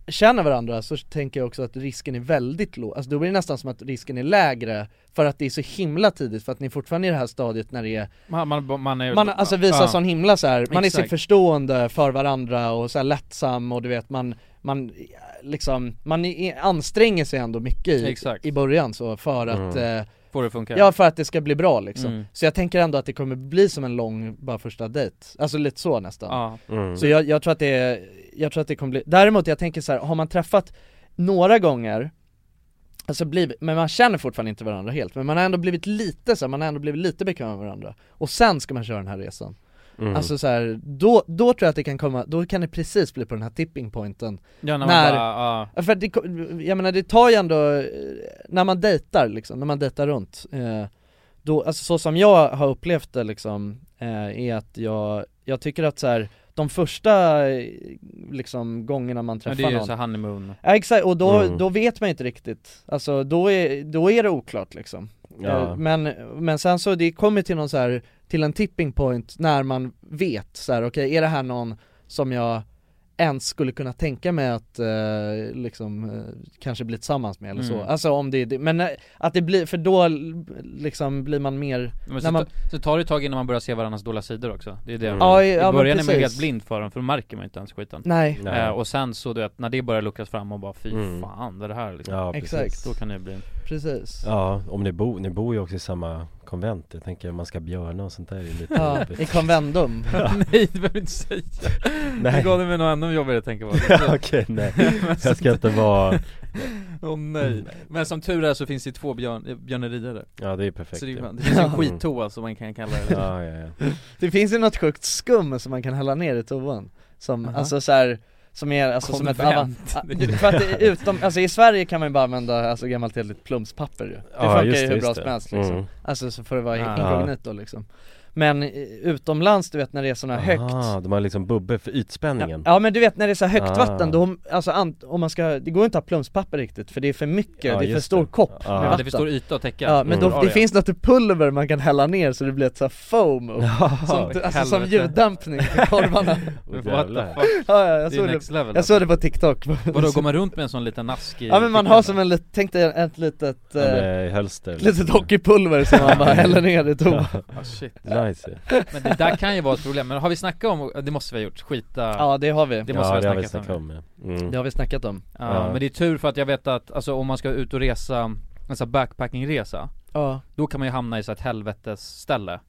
C: känner varandra så tänker jag också att risken är väldigt låg, alltså då blir det nästan som att risken är lägre för att det är så himla tidigt för att ni är fortfarande är i det här stadiet när det är
A: man, man, man är
C: man alltså visar
A: ja.
C: sån himla så här. man är så
A: Exakt.
C: förstående för varandra och så här lättsam och du vet man, man liksom, man är- anstränger sig ändå mycket i,
A: Exakt.
C: i början så för att
A: Mm.
C: eh,
A: Får det funka?
C: Ja för att det ska bli bra liksom.
A: Mm.
C: Så jag tänker ändå att det kommer bli som en lång, bara första dejt, alltså lite så nästan
A: Ja. Mm.
C: Så jag, jag tror att det, är- jag tror att det kommer bli, däremot jag tänker så här, har man träffat några gånger Alltså bli, men man känner fortfarande inte varandra helt, men man har ändå blivit lite så här, man har ändå blivit lite bekväm med varandra Och sen ska man köra den här resan
A: Mm.
C: Alltså så här, då, då tror jag att det kan komma, då kan det precis bli på den här tipping pointen
A: Ja, när man bara,
C: För att det, ko- jag menar det tar ju ändå, eh, när man dejtar liksom, när man dejtar runt eh, då, alltså så som jag har upplevt det liksom, eh, är att jag, jag tycker att så här, de första eh, liksom gångerna man
A: Men
C: träffar
A: det är ju
C: någon
A: så honeymoon
C: Ja exakt, och då,
A: Mm.
C: då vet man ju inte riktigt, alltså då är, då är det oklart liksom
A: Ja.
C: Eh, men, men sen så, det kommer till någon så här, till en tipping point när man vet så här, okej är det här någon som jag ens skulle kunna tänka mig att eh, liksom eh, kanske bli tillsammans med eller så,
A: Mm.
C: alltså om det är det, men eh, att det blir, för då l- liksom blir man mer,
A: Men
C: när
A: så,
C: man,
A: ta, så tar det ett tag innan man börjar se varandras dåliga sidor också, det är
B: Mm.
A: det
C: Ja,
A: I
C: ja, men
A: början är man
C: precis.
A: helt blind för dem, för då märker man inte ens skiten
C: Nej.
B: Nej.
A: Eh, Och sen så du vet, när det börjar luckras fram och bara fy
B: Mm.
A: fan, vad är det här liksom?
B: Ja, precis. Exakt.
A: Då kan det bli
C: precis
B: Ja, om ni bor, ni bor ju också i samma konvent Jag tänker man ska björna och sånt där är lite
C: Ja,
B: jobbigt.
C: i konvendum.
B: Ja.
A: Nej det behöver du inte säga!
B: Nej.
A: Nu gav du mig något ännu jobbigare att tänka på
B: Ja, okej, nej. Jag ska inte vara- Mm.
A: Åh nej, men som tur är så finns det ju två björn, eh, björnerier där
B: Ja, det är ju perfekt
A: så det, är
B: ju.
A: ju- det finns ju en
B: Ja.
A: skittoa som man kan kalla det
B: Ja, ja, ja.
C: Det finns ju något sjukt skum som man kan hälla ner i toan Som, alltså så här, som är alltså som ett
A: Konvent.
C: avan- a- För att det är utom, alltså i Sverige kan man ju bara använda alltså gammalt heligt plumspapper ju Det
B: Ja,
C: funkar
B: just
C: ju
B: det,
C: hur
B: just
C: bra
B: det.
C: som helst liksom
B: Mm.
C: Alltså så får det vara
B: Ah.
C: inkognito liksom Men eh, utomlands du vet när det är sådana högt
B: Ah, de har liksom bubbel för ytspänningen
C: Ja men du vet när det är så här högt
B: Ah.
C: vatten då, alltså an- om man ska, det går inte att ha plumspapper riktigt för det är för mycket,
B: Ja,
C: det är för
B: just
C: stor
B: det.
C: kopp
B: Ja.
C: med
B: Ja,
A: det
C: vatten
A: är för stor yta att täcka.
C: Ja men
A: Mm.
C: då,
A: Ja,
C: det
A: ja.
C: finns något pulver man kan hälla ner så det blir ett så här foam upp, som,
A: men
C: alltså som
A: helvete.
C: ljuddämpning för korvarna
A: What the fuck?
C: Ja, ja, jag
A: Det är
C: såg
A: next
C: det,
A: level,
C: jag såg det på TikTok
A: Vadå, går man runt med en sån liten ask i
C: Ja men man har som en lit, tänk dig ett litet, eh,
B: Ja, med hölster
C: litet
B: liksom.
C: hockeypulver som man bara häller ner i toan
A: Ja, Ah, shit.
B: Nice ju.
A: Men det där kan ju vara ett problem, men har vi snackat om, det måste vi ha gjort, skita
C: Ja det har vi
A: Det måste
B: Ja,
A: vi
B: det
A: ha
B: har vi
A: snackat
B: snackat
A: om
B: om, ja. Mm.
C: Det har vi snackat om
A: ja,
B: Ja.
A: men det är tur för att jag vet att, alltså om man ska ut och resa, en sån här backpackingresa
C: Ja.
A: Då kan man ju hamna i så här ett helvetes ställe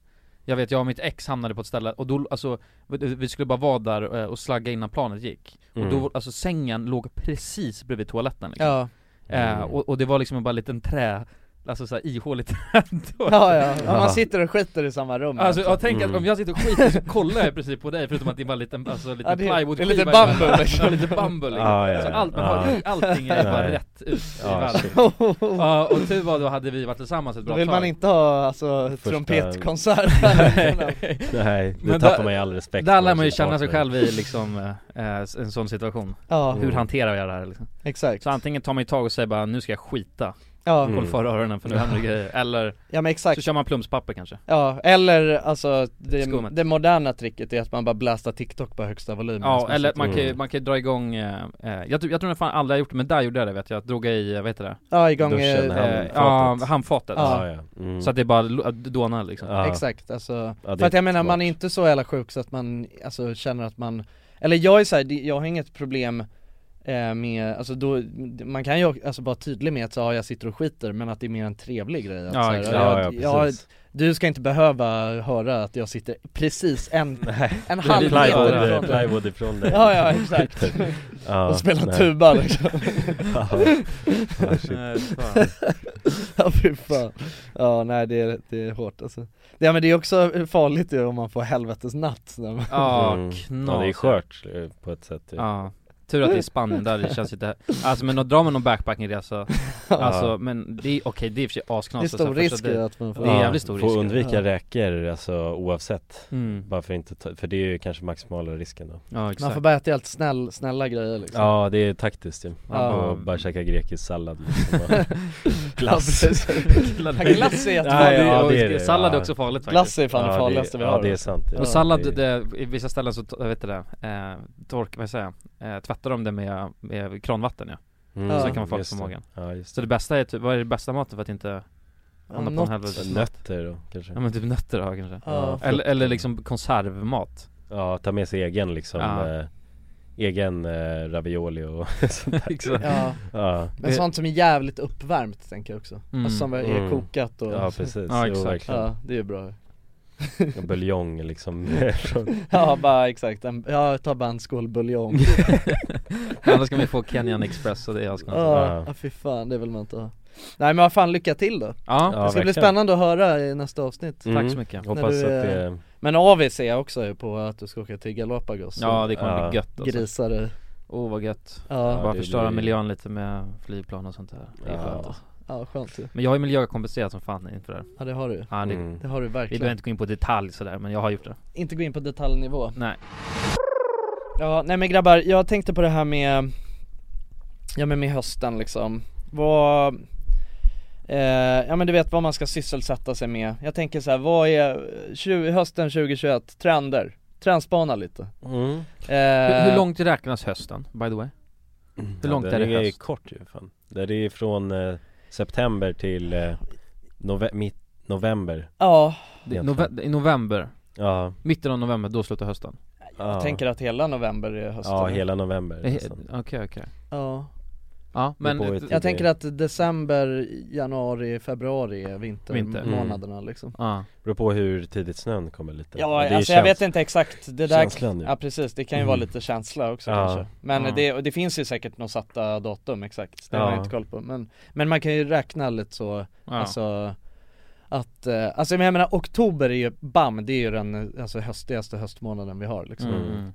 A: Jag vet, jag och mitt ex hamnade på ett ställe, och då, alltså Vi vi skulle bara vara där eh, och slagga innan planet gick Och
C: Mm.
A: då, alltså sängen låg precis bredvid toaletten liksom.
C: Ja.
A: eh,
C: Mm.
A: och, och det var liksom bara en liten trä, alltså såhär ihåligt träd
C: Ja ja, ja man sitter och skiter i samma rum
A: Alltså jag
C: egentligen.
A: tänker
B: Mm.
A: att om jag sitter och skiter så kollar jag i princip på dig förutom att det är bara en liten, alltså lite
C: Ja, det är-
A: plywood
C: det är lite
A: skiva i-
C: bambu, liksom.
A: Ja lite bambu liksom.
B: Ja, ja,
A: Så
B: ja.
A: allt man
B: Ja.
A: har, allting är bara
B: Nej.
A: rätt ut i
B: Ja,
A: världen Ja och tur var då hade vi varit tillsammans ett
C: Då
A: bra
C: vill
A: tag
C: man inte ha alltså
B: Första-
C: trumpetkonsert
B: Nej, det
A: Men
B: tappar
A: där-
B: man ju all respekt
A: Där
B: för
A: lär man ju
B: sin
A: känna sig
B: partner.
A: själv i liksom, eh, eh, en sån situation
C: Ja.
A: Hur hanterar jag det här liksom?
C: Exakt
A: Så antingen tar man ju tag och säger bara nu ska jag skita
C: Ja.
A: Håll
C: Mm.
A: för öronen för nu händer det grejer, eller
C: Ja, men exakt.
A: så kör man plumspapper kanske
C: Ja, eller alltså det,
A: Skummet.
C: det moderna tricket är att man bara blastar TikTok på högsta volym Alltså,
A: Ja eller man kan ju, man kan ju dra igång, eh, eh, jag, tror- jag tror fan aldrig jag gjort det men där gjorde jag det vet jag, drog jag i, eh, vad heter det?
C: Ja, igång, eh, Duschen,
A: handfatet.
C: handfatet.
A: Ja, handfatet
B: Ja,
C: Ja.
B: ja. Mm.
A: Så att det bara lo- dånar liksom
C: Exakt, alltså,
A: Ja, det
C: för att
A: är
C: jag menar
A: smart.
C: man är inte så jävla sjuk så att man alltså, känner att man Eller jag är så här, det- jag har inget problem eh, med, alltså då, man kan ju alltså bara tydlig med att så, ja, jag sitter och skiter men att det är mer en trevlig grej att,
A: Ja,
C: så här,
A: exakt.
B: Ja, ja, precis.
C: Du ska inte behöva höra att jag sitter precis en, en
B: det är
C: halv
B: plywood,
C: meter
B: eh, plywood ifrån dig.
C: Ja ja exakt,
B: Ja,
C: och spela
B: nej. Mm.
C: tuba liksom
A: Eh,
B: Ja. Ja,
A: Ah,
B: shit.
A: Nej, fan.
C: ja fy fan. Ja nej det är, det är hårt alltså. Ja men det är också farligt ju om man får helvetes natt när man
A: Ja, knas.
B: Ja, det är skört eh, på ett sätt ju.
A: Ja, tur att det är Spanien där det känns inte, alltså men då drar man någon backpackingresa Alltså men det är, okej det är i och för sig asknas
C: Det är stor
A: alltså, första
C: risk
A: dejt.
C: ju att man får-
A: Det är
B: Ja,
A: jävligt stor
B: Får
A: risk
B: undvika
A: ja.
B: räkor alltså oavsett.
A: Mm.
B: Bara för, inte ta, för det är ju kanske maximala risken då.
A: Ja
C: Man
A: exakt
C: får börja äta helt snäll, snälla grejer liksom
B: Ja det är taktiskt ju.
C: Ja.
B: Och bara käka grekisk sallad liksom. och Glass.
C: Ja, precis. Ja, glass är jättefarligt.
B: Ja, ja, det är det.
A: Sallad är
B: Ja.
A: också farligt faktiskt
C: Glass är fan det
B: Ja,
C: farligaste vi
B: ja,
C: har. liksom.
B: det är sant, ja.
A: Och sallad,
B: Det-
A: det, i vissa ställen så, jag vet det, där, eh, tork, vad säger jag, eh, tvättar de det med, med kranvatten ja
B: Mm,
A: Så kan man få
B: just
A: på
B: det.
A: magen
B: Ja, just
A: Så det bästa är typ, vad är det bästa maten för att inte hamna på en
C: något.
A: helvetes
B: Nötter då kanske.
A: Ja men typ nötter då kanske
B: Ja.
A: eller, eller liksom konservmat
B: Ja, ta med sig egen liksom
A: Ja.
B: eh, Egen eh, ravioli och sånt där
A: Exakt.
C: Ja.
B: ja.
C: Men sånt som är jävligt uppvärmt tänker jag också,
B: Mm.
C: alltså som är
B: Mm.
C: kokat och
B: Ja, precis.
A: Ja,
B: Jo,
A: exakt.
B: verkligen.
C: Ja det är ju bra
B: En buljong liksom
C: Ja bara exakt, en, ja ta bara en skål buljong
A: Annars kan vi få Kenyan Express och det är asknas
C: Ja, ja fy fan, det vill man inte ha Nej men vad fan, lycka till då!
A: Ja,
C: det ska bli
A: verkligen.
C: spännande att höra i nästa avsnitt
A: Tack Mm. så mycket.
C: När
A: Hoppas
C: du,
A: att
C: eh,
B: mm.
A: det-
C: Men AV ser jag också på att du ska åka till Galapagos
A: Ja
C: och
A: det kommer
C: Ja.
A: bli gött alltså.
C: Grisar i
A: Åh oh, vad gött
C: Ja.
A: Bara
C: det
A: förstöra
C: blir-
A: miljön lite med flygplan och sånt där Det är
C: Ja.
A: skönt alltså.
C: Ja, skönt ju.
A: Men jag har ju miljökompenserat som fan inför det här.
C: Ja, det har du ju.
A: ja, det,
C: Mm. Det har du verkligen.
A: Vi behöver inte gå in på detalj sådär men jag har gjort det
C: Inte gå in på detaljnivå
A: Nej
C: Ja, nej men grabbar, jag tänkte på det här med Ja men med hösten liksom Vad eh, Ja men du vet vad man ska sysselsätta sig med Jag tänker så här, vad är 20, hösten 2021, trender? Trendspana lite
B: Mm.
A: hur,
C: Eh.
A: hur långt räknas hösten by the way? Hur långt är det
B: Det är
A: höst?
B: kort ju fan Det är från eh, september till eh, nove- mitt november
C: Ja.
A: Det är nove- I november?
B: Ja
A: Mitten av november, då slutar hösten?
C: Jag tänker att hela november är hösten
B: Ja, hela november liksom.
A: Eh,
B: nästan.
A: Okej okej
C: Ja
A: Ja men
B: Det går ju
C: Jag tänker att december, januari, februari är vintermånaderna liksom
B: Beror på hur tidigt snön kommer lite
C: Ja,
B: Men det är ju
C: alltså jag vet
B: käns-
C: inte exakt det där
B: Känslan ju
C: Ja precis, det kan ju
B: Mm.
C: vara lite känsla också
B: Ja.
C: kanske Men
B: Ja.
C: det, och det finns ju säkert något satta datum exakt, det har jag
B: Ja.
C: inte koll på men, men man kan ju räkna lite så,
A: Ja.
C: alltså att, eh, alltså men jag menar oktober är ju, bam, det är ju den eh, alltså, höstigaste höstmånaden vi har
A: Mm,
C: liksom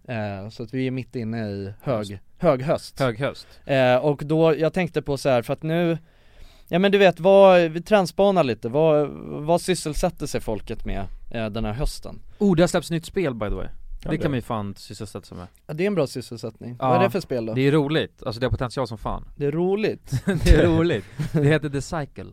C: eh, Så att vi är mitt inne i hög, hög höst
A: Hög höst
C: eh, Och då, jag tänkte på så här för att nu Ja men du vet, vad, vi transpånar lite, vad, vad sysselsätter sig folket med eh, den här hösten?
A: Oh det har släppts nytt spel by the way
C: Ja,
A: Det
C: det.
A: kan man ju fan sysselsätta sig med
C: Ja, det är en bra sysselsättning. Vad är det för spel då?
A: Det är roligt, alltså det har potential som fan
C: Det är roligt.
A: Det är roligt, det heter The Cycle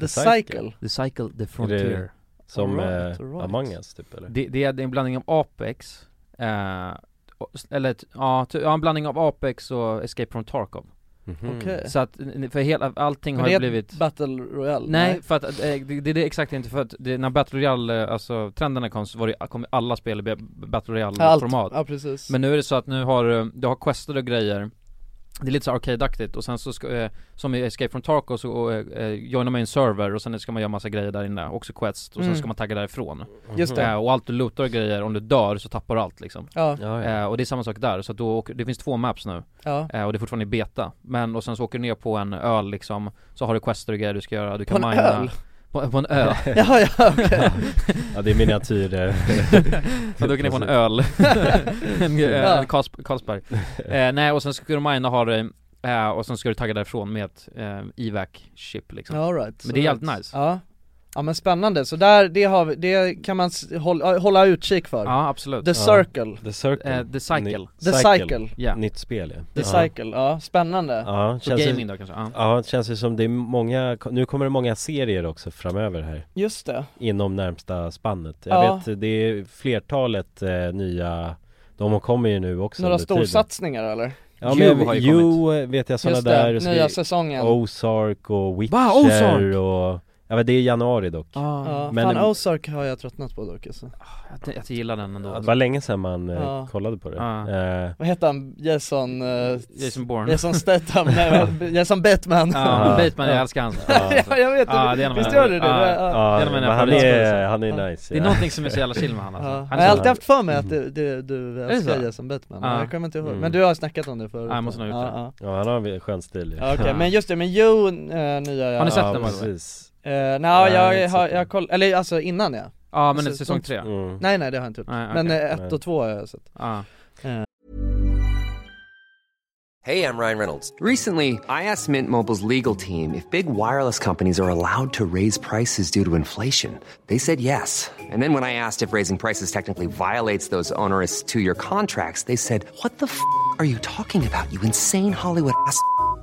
C: The Cycle?
A: The Cycle, The Frontier
B: Som
A: Alright,
B: eh,
A: alright.
B: Among Us typ eller?
A: det, det, är, det är en blandning av Apex, eh, och- eller ett- ja, ty- ja, en blandning av Apex och Escape from Tarkov
B: Mhm.
C: Okej.
A: Så att, för hela, allting
C: Eh. Men
A: Mm. har
C: det
A: ju
C: är
A: blivit
C: ett Battle Royale?
A: Nej, för att eh, det, det är det exakt inte för att det, när Battle Royale, eh, alltså trenderna kom så var det, kom alla spel i B- Battle Royale
C: Allt.
A: format
C: Ja, precis.
A: Men nu är det så att nu har eh, du har quester och grejer Det är lite så arcade-aktigt och sen så ska, eh, som i Escape from Tarkov så eh, eh, joinar man en server och sen ska man göra massa grejer där inne, också quest och sen
C: Mm.
A: ska man tagga därifrån
B: Mhm.
C: Just det.
A: Eh, Och allt du lootar och grejer, om du dör så tappar du allt liksom
C: Ja.
B: Ja, ja.
A: Eh, Och det är samma sak där, så att då åker, det finns två maps nu
C: Ja.
A: Eh, Och det är fortfarande i beta, men och sen så åker du ner på en öl liksom Så har du quester och grejer du ska göra, du
C: På
A: kan
C: en
A: mina
C: öl?
A: På, på en ö
C: Jaha, ja, okej.
B: Ja det är miniatyr eh.
A: Ja, då åker ni på en öl, en,
B: Ja.
A: en Karls- Carlsberg eh, Nej och sen ska du mina ha det, eh, och sen ska du tagga därifrån med ett eh, evac chip liksom
C: All right,
A: Men det är
C: all right.
A: jävligt nice
C: Ja. Ja men spännande, så där, det, har vi, det kan man s- hålla, hålla utkik för
A: Ja absolut
C: The Circle
B: The Circle
A: Eh, The Cycle.
C: The Cycle.
A: Ja.
B: Nytt spel ja.
C: The
B: ja.
C: Cycle, ja spännande
B: Ja,
A: Så
B: ju-
A: gaming då kanske, ja.
B: Ja, det känns ju som det är många, nu kommer det många serier också framöver här
C: Just det
B: Inom närmsta spannet Jag
C: Ja.
B: vet, det är flertalet eh, nya De kommer ju nu också
C: Några
B: under tiden.
C: storsatsningar eller?
B: Ja men har ju vet jag sådana
C: Just det,
B: där och så-
A: Oh.
C: nya säsongen
B: Ozark och Witcher
C: Ozark!
B: och
G: Ja men det är januari dock
H: Ja,
G: Men
H: fan Ozark har jag tröttnat på dock alltså.
A: Ah, Jag, jag gillar den ändå
G: det var länge sedan man eh,
H: Ja.
G: kollade på det
A: Ja.
G: Eh,
H: Vad heter han? Jason... eh,
A: Jason Bourne.
H: Jason Statham, nej men Jason Batman
A: Ja, Bateman, jag älskar hans
H: Ja jag vet,
A: Ja, det är en av
H: visst
A: mina-
H: gör du det?
A: Ja.
H: Det är-
A: Ja, det är en av mina
G: men han
A: favoritskuespelare.
G: är, han är nice
A: Det är
G: ja.
A: någonting som är så jävla chill med han alltså.
H: Ja.
A: Han
H: Jag
A: är
H: har
A: så-
H: alltid haft för mig att du, du, du
A: det så?
H: älskar Jason Batman,
A: Ja.
H: ja. jag kommer inte ihåg,
A: Mm.
H: men du har snackat om det förut
A: Ja, jag måste nog ha gjort det.
H: ja.
G: Ja han har en skön stil
H: Ja, Okej, men just det, men Joe, eh, nya jag
A: Har ni sett
G: Ja,
A: den by the way?
G: precis
H: Eh, nej,
A: Nej, jag har
H: jag
A: inte
H: har,
A: sett
H: jag har kollat, eller alltså innan ja
A: Ja, men det är säsong tre.
G: Mm.
H: Nej nej det har jag inte gjort,
A: Nej, okej.
H: men eh, ett
A: Nej.
H: och två har jag sett
A: Ja.
I: Hey, I'm Ryan Reynolds. Recently, I asked Mint Mobile's legal team if big wireless companies are allowed to raise prices due to inflation. They said yes. And then when I asked if raising prices technically violates those onerous two year contracts, they said, What the f are you talking about, you insane Hollywood ass? f-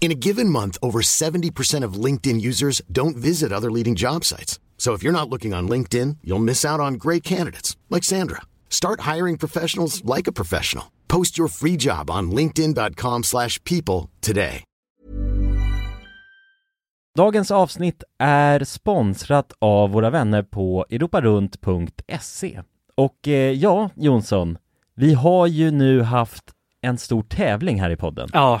J: In a given month, over 70% of LinkedIn users don't visit other leading job sites. So if you're not looking on LinkedIn, you'll miss out on great candidates like Sandra. Start hiring professionals like a professional. Post your free job on linkedin.com/people slash people today.
B: Dagens avsnitt är sponsrat av våra vänner på europarunt.se. Och eh, ja, Jonsson, vi har ju nu haft en stor tävling här i podden.
C: Ja,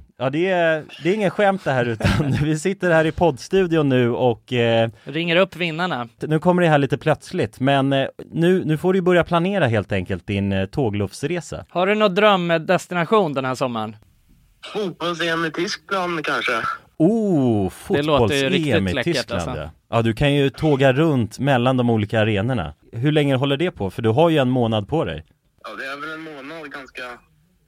B: ja det, är, det är ingen skämt det här utan vi sitter här i poddstudion nu och eh,
C: Ringer upp vinnarna.
B: nu kommer det här lite plötsligt men eh, nu, nu får du börja planera helt enkelt din eh, tågluffsresa.
C: Har du någon drömdestination den här sommaren?
K: Fotbolls-EM i Tyskland kanske?
B: Oh,
C: Det låter ju
B: fotbolls-EM i
C: riktigt läckert,
B: Tyskland
C: alltså.
B: ja. ja. du kan ju tåga runt mellan de olika arenorna. Hur länge håller det på? För du har ju en månad på dig.
K: Ja, det är väl en månad ganska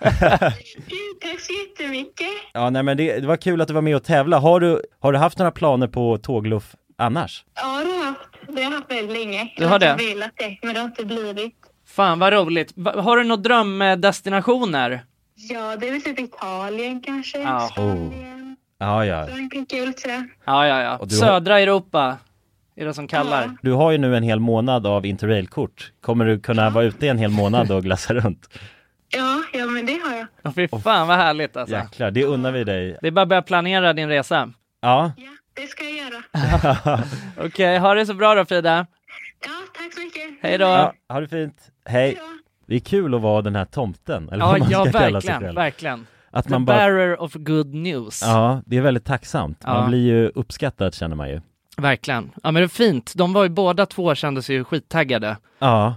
L: Gud, Tack så jättemycket.
B: Ja nej men det, det var kul att du var med och tävla. Har du, har du haft några planer på tågluff annars?
L: Ja, det har jag haft. Det har jag haft väldigt länge.
C: Du har det?
L: Jag har velat det, men det har inte blivit.
C: Fan vad roligt. Va- har du några drömdestinationer?
L: Ja, det är väl typ Italien kanske.
C: Ja.
B: Ja, ja.
L: Frankrike och lite sådär.
C: Ja, ja,
B: Och
C: ja.
B: du har-
C: Södra Europa.
M: är det som kallar.
N: Du har ju nu en hel månad av interrailkort. Kommer du kunna vara ute en hel månad och glassa runt?
O: Ja, ja men det har jag.
M: Ja, fy fan vad härligt alltså.
N: Jäklar, det unnar vi dig.
M: Det är bara att börja planera din resa.
N: Ja.
O: Det ska jag göra.
M: Okej, ha det så bra då Frida.
O: Tack så mycket.
M: Hej då.
N: Ja, ha det fint. Hej. Det är kul att vara den här tomten, eller
M: Ja,
N: vad man
M: ja
N: ska kalla sig
M: verkligen,
N: själv.
M: verkligen.
N: Att
M: The
N: man bara-
M: bearer of good news.
N: Ja, det är väldigt tacksamt.
M: Ja.
N: Man blir ju uppskattad känner man ju.
M: Verkligen. Ja men det är fint. De var ju båda två kände sig ju skittaggade.
N: Ja.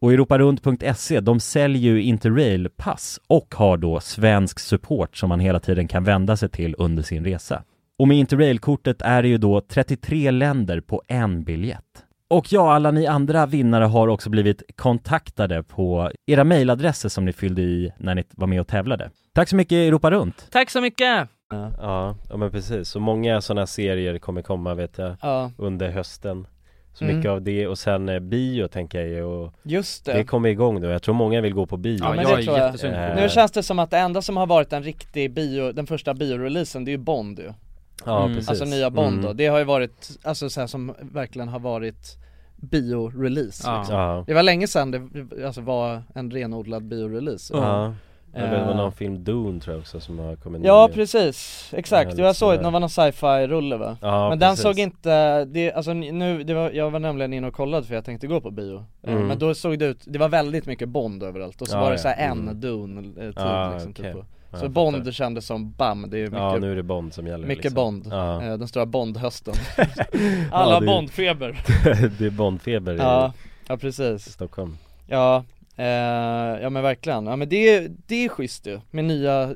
N: Och europarunt.se, E, de säljer ju Interrail-pass och har då svensk support som man hela tiden kan vända sig till under sin resa. Och med Interrail-kortet är det ju då 33 länder på en biljett. Och ja, alla ni andra vinnare har också blivit kontaktade på era mejladresser som ni fyllde i när ni var med och tävlade. Tack så mycket Europa Runt!
M: Tack så mycket!
B: Ja, ja men precis. Så många sådana serier kommer komma vet jag
C: Ja.
B: under hösten. Så
C: Mm.
B: mycket av det och sen eh, bio tänker jag ju och
C: Just det.
B: det kommer igång nu. Jag tror många vill gå på bio.
C: Ja, men det tror jag. Nu känns det som att det enda som har varit en riktig bio, den första bioreleasen det är ju Bond ju
B: Ja, Mm. precis.
C: Alltså nya Bond då,
B: Mm.
C: det har ju varit, alltså så här som verkligen har varit biorelease
B: Ja.
C: liksom.
B: Ja.
C: Det var länge sedan det alltså, var en renodlad biorelease
B: Ja. Det
C: Eh,
B: var någon film Dune tror jag också som har kommit
C: Ja
B: nu.
C: precis,
B: Ja,
C: exakt.
B: lite
C: Jag såg
B: sådär.
C: att det var någon sci-fi rulle va?
B: Ja,
C: men den
B: precis.
C: såg inte, det, alltså nu, det var, jag var nämligen inne och kollade för jag tänkte gå på bio Eh,
B: Mm.
C: Men då såg det ut, det var väldigt mycket Bond överallt och så
B: Ja,
C: var det
B: ja.
C: så här en
B: Mm.
C: Dune eh, tid
B: Ja,
C: liksom
B: okej.
C: typ på.
B: Ja,
C: Så
B: jag
C: Bond
B: fattar.
C: kändes som bam, det är mycket
B: Ja, nu är det Bond som gäller,
C: Mycket
B: liksom.
C: Bond,
B: Ja.
C: Eh, den stora Bond-hösten
B: Ja,
C: Alla har
B: det-
C: Bondfeber
B: det är Bondfeber i
C: Ja, ja precis
B: Stockholm.
C: Ja, eh, ja men verkligen. Ja men det, är- det är schysst ju, med nya, eh,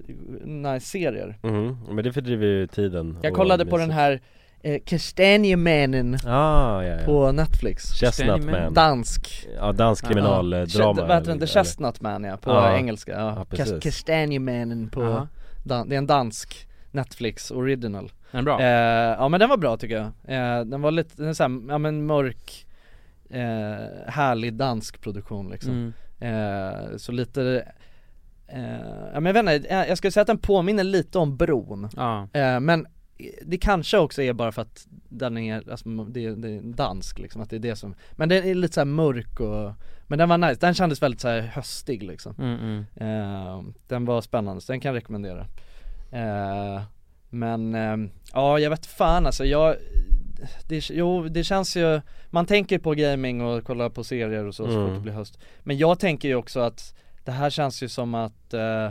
C: nice serier
B: Mhm, Men det fördriver ju tiden.
C: Jag
B: och
C: kollade på
B: myset.
C: den här eh, Kastanjemannen
B: Ah, ja, ja.
C: på Netflix
B: Chestnut Man.
C: Dansk
B: Ja, dansk kriminaldrama.
C: Vad heter den?
B: eller-
C: The Chestnut Man ja, på
B: Ja.
C: engelska
B: Ja,
C: ja.
B: precis.
C: Kas- Kastanjemannen på,
B: Ja.
C: dan- det är en dansk Netflix original
P: Är den bra?
C: Eh, ja men den var bra tycker jag, eh, den var lite, den är så här, ja men mörk, eh, härlig dansk produktion
A: Mm.
C: liksom eh, Så lite, eh, ja men jag vet inte, eh, jag skulle säga att den påminner lite om Bron
A: Ja.
C: eh, Men det kanske också är bara för att den är, alltså, det, är- det är en dansk liksom, att det är det som Men den är lite så här mörk och, men den var nice, den kändes väldigt så här höstig liksom
A: Mm, mm.
C: Eh, Den var spännande, så den kan jag rekommendera Eh, Men, eh, ja jag vet fan alltså, jag det, Jo det känns ju, man tänker på gaming och kollar på serier och så, så
B: Mm.
C: fort det blir höst Men jag tänker ju också att det här känns ju som att eh,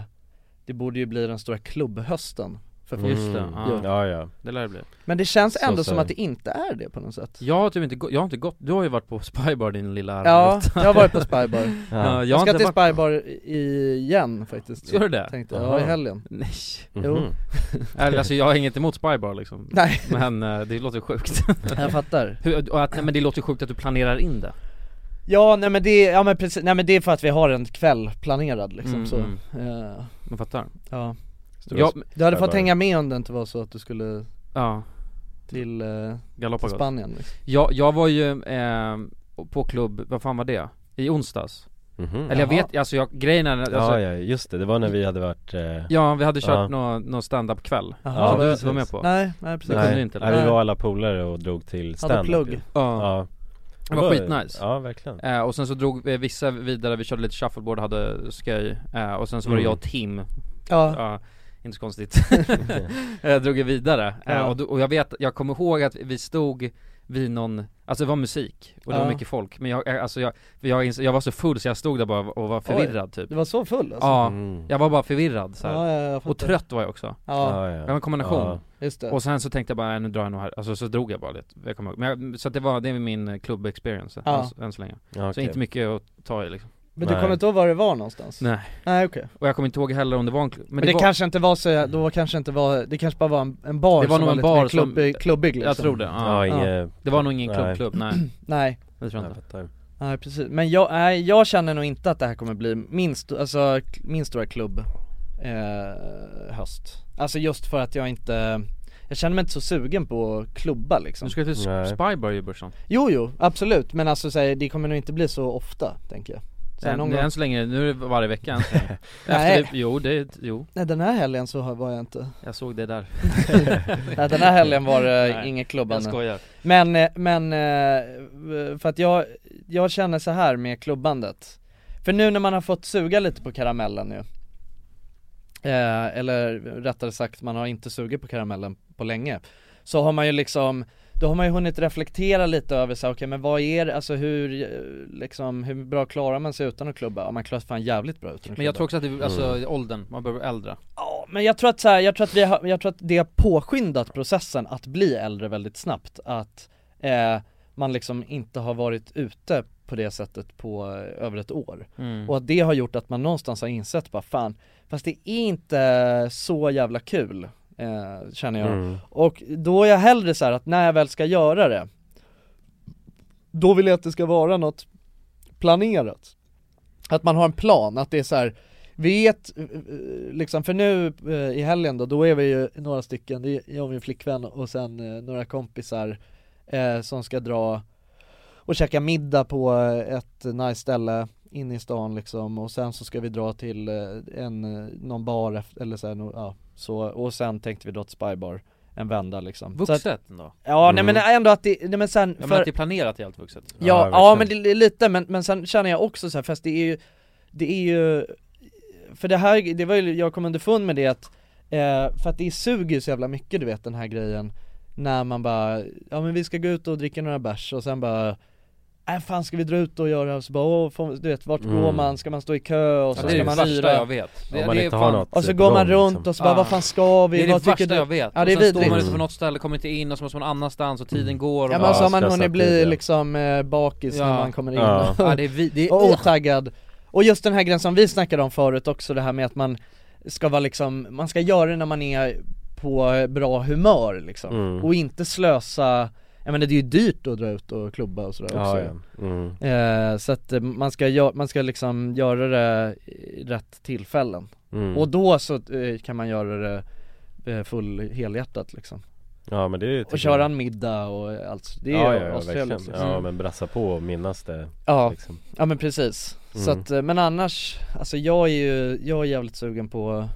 C: det borde ju bli den stora klubbhösten för
B: Mm.
C: folk
B: Just det, ja.
C: Jo.
B: Ja, ja.
A: Det lär det bli.
C: Men det känns
A: Så
C: ändå som
A: säger-
C: att det inte är det på något sätt
A: Jag har typ inte, gå- jag har inte gått, du har ju varit på Spybar din lilla
C: Ja,
A: armbrott.
C: jag har varit på Spybar
A: ja.
C: jag,
A: jag har
C: ska
A: inte
C: till
A: varit
C: Spybar i- igen faktiskt
A: Ska du det?
C: Tänkte, jag. ja i
A: Aha.
C: helgen
A: Nej
C: Jo
A: Eller, alltså jag har inget emot Spybar liksom
C: Nej.
A: Men eh, det låter sjukt
C: Jag fattar.
A: Hur, och att, nej, men det låter sjukt att du planerar in det
C: Ja nej men det, ja men precis, nej men det är för att vi har en kväll planerad liksom
A: Mm,
C: så
A: mm.
C: eh,
A: Man fattar
C: Ja,
A: Stora Ja, sp-
C: du hade
A: spärrar.
C: fått hänga med om det inte var så att du skulle
A: Ja
C: Till, eh,
A: Galapagos
C: till Spanien liksom.
A: jag, jag var ju eh, på klubb, vad fan var det? I onsdags Eller jag
B: Mm. Jaha.
A: vet, alltså jag, grejen är alltså,
B: Mm-hmm. ja, ja, just det. Det var när vi hade varit... Eh...
A: Ja, vi hade kört
B: ja.
A: någon, någon stand-up kväll
B: Jaha.
A: Som
B: Ja,
A: du
B: precis.
A: inte var med på
C: Nej, nej, precis.
A: Det kunde du inte
B: Nej, vi var alla polare och drog till stand
A: Ja. Det var skitnice
B: Ja, verkligen.
A: eh, Och sen så drog vi vissa vidare, vi körde lite shuffleboard, hade sköj eh, Och sen så var det
B: Mm.
A: jag och Tim
C: Ja.
A: Inte så konstigt eh, Drog vi vidare eh,
C: Ja.
A: och, då, och jag vet, jag kommer ihåg att vi stod vid någon Alltså det var musik och det var
C: Ja.
A: mycket folk Men jag, eh, alltså jag, jag, ins- jag var så full så jag stod där bara och var förvirrad typ
C: Du var så full alltså?
A: Ja,
C: Mm.
A: jag var bara förvirrad så här.
C: Ja, ja, jag
A: Och
C: fattar.
A: trött var jag också
C: Ja. Ja, ja.
A: Det var en kombination
C: Ja. Just det.
A: Och sen så tänkte jag bara, äh, nu drar jag nog här, alltså så drog jag bara lite jag kommer ihåg. Men jag, Så att det var, det är min eh, klubb-experience
C: Ja.
A: än, så- än så länge
B: Ja,
A: Så
B: okej.
A: inte mycket att ta i liksom
C: Men du kommer inte ihåg var det var någonstans?
A: Nej
C: Nej okej
A: Och jag kommer inte ihåg heller om det var en klubb
C: Men, det
A: var,
C: kanske inte var så, då kanske inte var, det kanske bara var en, en bar
A: det var
C: som
A: nog
C: var
A: en
C: lite
A: bar
C: mer klubbig,
A: som,
C: klubbig liksom
A: Jag tror det, ja,
B: Ja, inget-
A: Det var nog ingen
B: nej.
A: klubbklubb, nej
C: Nej
A: Det tror jag
B: Jag
A: inte
B: fattar.
C: Nej precis, men jag, nej, jag känner nog inte att det här kommer bli min, sto- alltså, k- min stora klubb eh, höst Alltså just för att jag inte Jag känner mig inte så sugen på att klubba liksom
A: Du ska till Sp- Nej. Spybar ju Börsan
C: Jo jo, absolut, men alltså så här, det kommer nog inte bli så ofta tänker jag Så här,
A: Än,
C: någon
A: nej,
C: gång-
A: än så länge, nu är det varje vecka än så länge.
C: Nej.
A: Efter det, jo det, är- jo
C: Nej den här helgen så har- var jag inte
A: Jag såg det där
C: Nej den här helgen var det
A: Nej,
C: inget klubbande
A: Jag skojar
C: Men, eh, men eh, för att jag, jag känner så här med klubbandet För nu när man har fått suga lite på karamellen ju eh, Eller rättare sagt man har inte sugit på karamellen på länge Så har man ju liksom Då har man ju hunnit reflektera lite över så här, okej men vad är det, alltså hur, eh, liksom, hur bra klarar man sig utan att klubba? Ja man klarar sig fan jävligt bra utan att klubba
A: Men jag tror också att det, alltså åldern, man behöver äldre
C: Ja, men jag tror att så här, jag tror att vi har, jag tror att det har påskyndat processen att bli äldre väldigt snabbt att eh, man liksom inte har varit ute på det sättet på eh, över ett år
A: Mm.
C: och att det har gjort att man någonstans har insett bara fan fast det är inte så jävla kul eh, känner jag
B: Mm.
C: och då är jag hellre så här att när jag väl ska göra det då vill jag att det ska vara något planerat att man har en plan, att det är så här vet, eh, liksom för nu eh, i helgen då, då är vi ju några stycken, det är jag och min flickvän och sen eh, några kompisar eh, som ska dra och käka middag på eh, ett nice ställe inne i stan liksom och sen så ska vi dra till eh, en, eh, någon bar efter, eller så, här, no, ja, så och sen tänkte vi dra till Spybar en vända liksom Så att-
A: Vuxet ändå
C: Ja nej men ändå att det, nej men sen
A: Ja, men att det är planerat helt vuxet
C: Ja, ja, men det, det är lite, men, men sen känner jag också så här, fast det är ju, det är ju, för det här, det var ju, jag kom underfund med det att, eh, för att det suger ju så jävla mycket du vet den här grejen när man bara, ja men vi ska gå ut och dricka några bärs och sen bara Äh, fan ska vi dra ut och göra, och så bara, åh, får, du vet vart går
A: Mm.
C: man, ska man stå i kö och
A: Ja, det
C: så
A: är
C: ska
A: det
C: man
A: värsta
C: hyra-
A: jag vet. Det- Om man det är inte har fan- något
C: Och så
A: på
C: går man
A: gång,
C: runt
A: liksom.
C: och så bara,
A: Ah.
C: vad fan ska vi,
A: Det är det
C: vad tycker
A: värsta
C: du?
A: jag vet,
C: Ja det är
A: och sen står man
C: vidrigt Mm.
A: ute på något ställe, kommer inte in och så måste man någon annanstans och tiden går och
C: Ja men alltså- så har man hunnit bli liksom eh, bakis
A: Ja.
C: när man kommer in
A: Ja. Ja, det är vi- det är-
C: och otaggad Och just den här grejen som vi snackade om förut också det här med att man ska vara liksom, man ska göra det när man är på bra humör liksom
B: Mm.
C: och inte slösa jag menar det är ju dyrt att dra ut och klubba och sådär
B: Ja,
C: också
B: ja. Mm.
C: Eh, Så att eh, man ska, gö- man ska liksom göra det i rätt tillfällen
B: Mm.
C: Och då så eh, kan man göra det eh, full helhjärtat liksom
B: Ja men det är ju typ-
C: och köra en middag och allt, det är
B: ja,
C: ju
B: ja, ja,
C: astrevligt,
B: verkligen.
C: liksom.
B: ja men brassa på och minnas det
C: Ja,
B: liksom.
C: ja men precis.
B: Mm.
C: Så att, eh, men annars, alltså jag är ju, jag är jävligt sugen på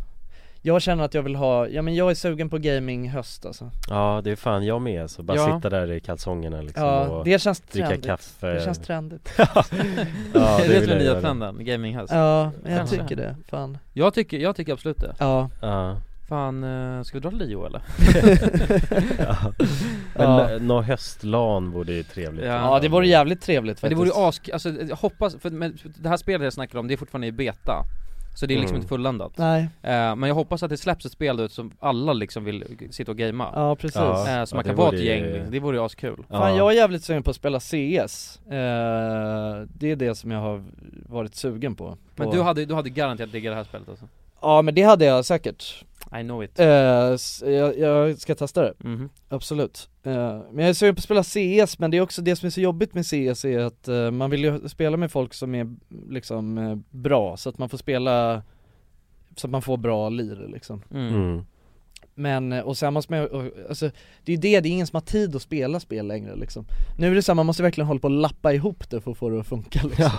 C: Jag känner att jag vill ha, ja men jag är sugen på gaming höst alltså
B: Ja det är fan jag med alltså, bara
C: Ja.
B: sitta där i kalsongerna liksom
C: Ja,
B: och
C: det känns
B: dricka
C: trendigt.
B: kaffe
C: Det känns trendigt
B: Ja,
A: Är det
B: vill
A: den
B: jag
A: nya
B: göra.
A: trenden? Gaminghöst?
C: Ja, men jag
A: Kanske.
C: tycker det, fan
A: Jag tycker, jag tycker absolut det
C: Ja
B: Ja
A: Fan, eh, ska vi dra till Lio eller?
B: Ja. Men nå- nå höstlan vore ju trevligt
C: Ja det vore jävligt trevligt
A: Men det
C: faktiskt
A: vore ju ask, alltså jag hoppas, för men det här spelet jag snackar om det är fortfarande i beta Så det är liksom
C: Mm.
A: inte fulländat
C: Nej.
A: Eh, Men jag hoppas att det släpps ett spel ut som alla liksom vill g- sitta och gamea
C: Ja, precis.
A: Eh, Så
C: Ja,
A: man
C: det
A: kan vara
C: vore
A: ett
C: ju-
A: gäng, liksom. det vore ju askul
C: Fan jag är jävligt sugen på att spela CS, eh, det är det som jag har varit sugen på, på
A: Men du hade, du hade garanterat diggat det här spelet alltså?
C: Ja men det hade jag säkert
A: I know it
C: Eh, s- jag, jag ska testa det,
A: Mhm.
C: absolut Eh, Men jag är sugen på att spela CS, men det är också det som är så jobbigt med CS är att eh, man vill ju spela med folk som är liksom eh, bra, så att man får spela Så att man får bra lir liksom
A: Mm.
B: Mm.
C: Men, eh, och sen måste man ju- och- alltså, det är ju det, det är ingen som har tid att spela spel längre liksom Nu är det så här, man måste verkligen hålla på och lappa ihop det för att få det att funka liksom.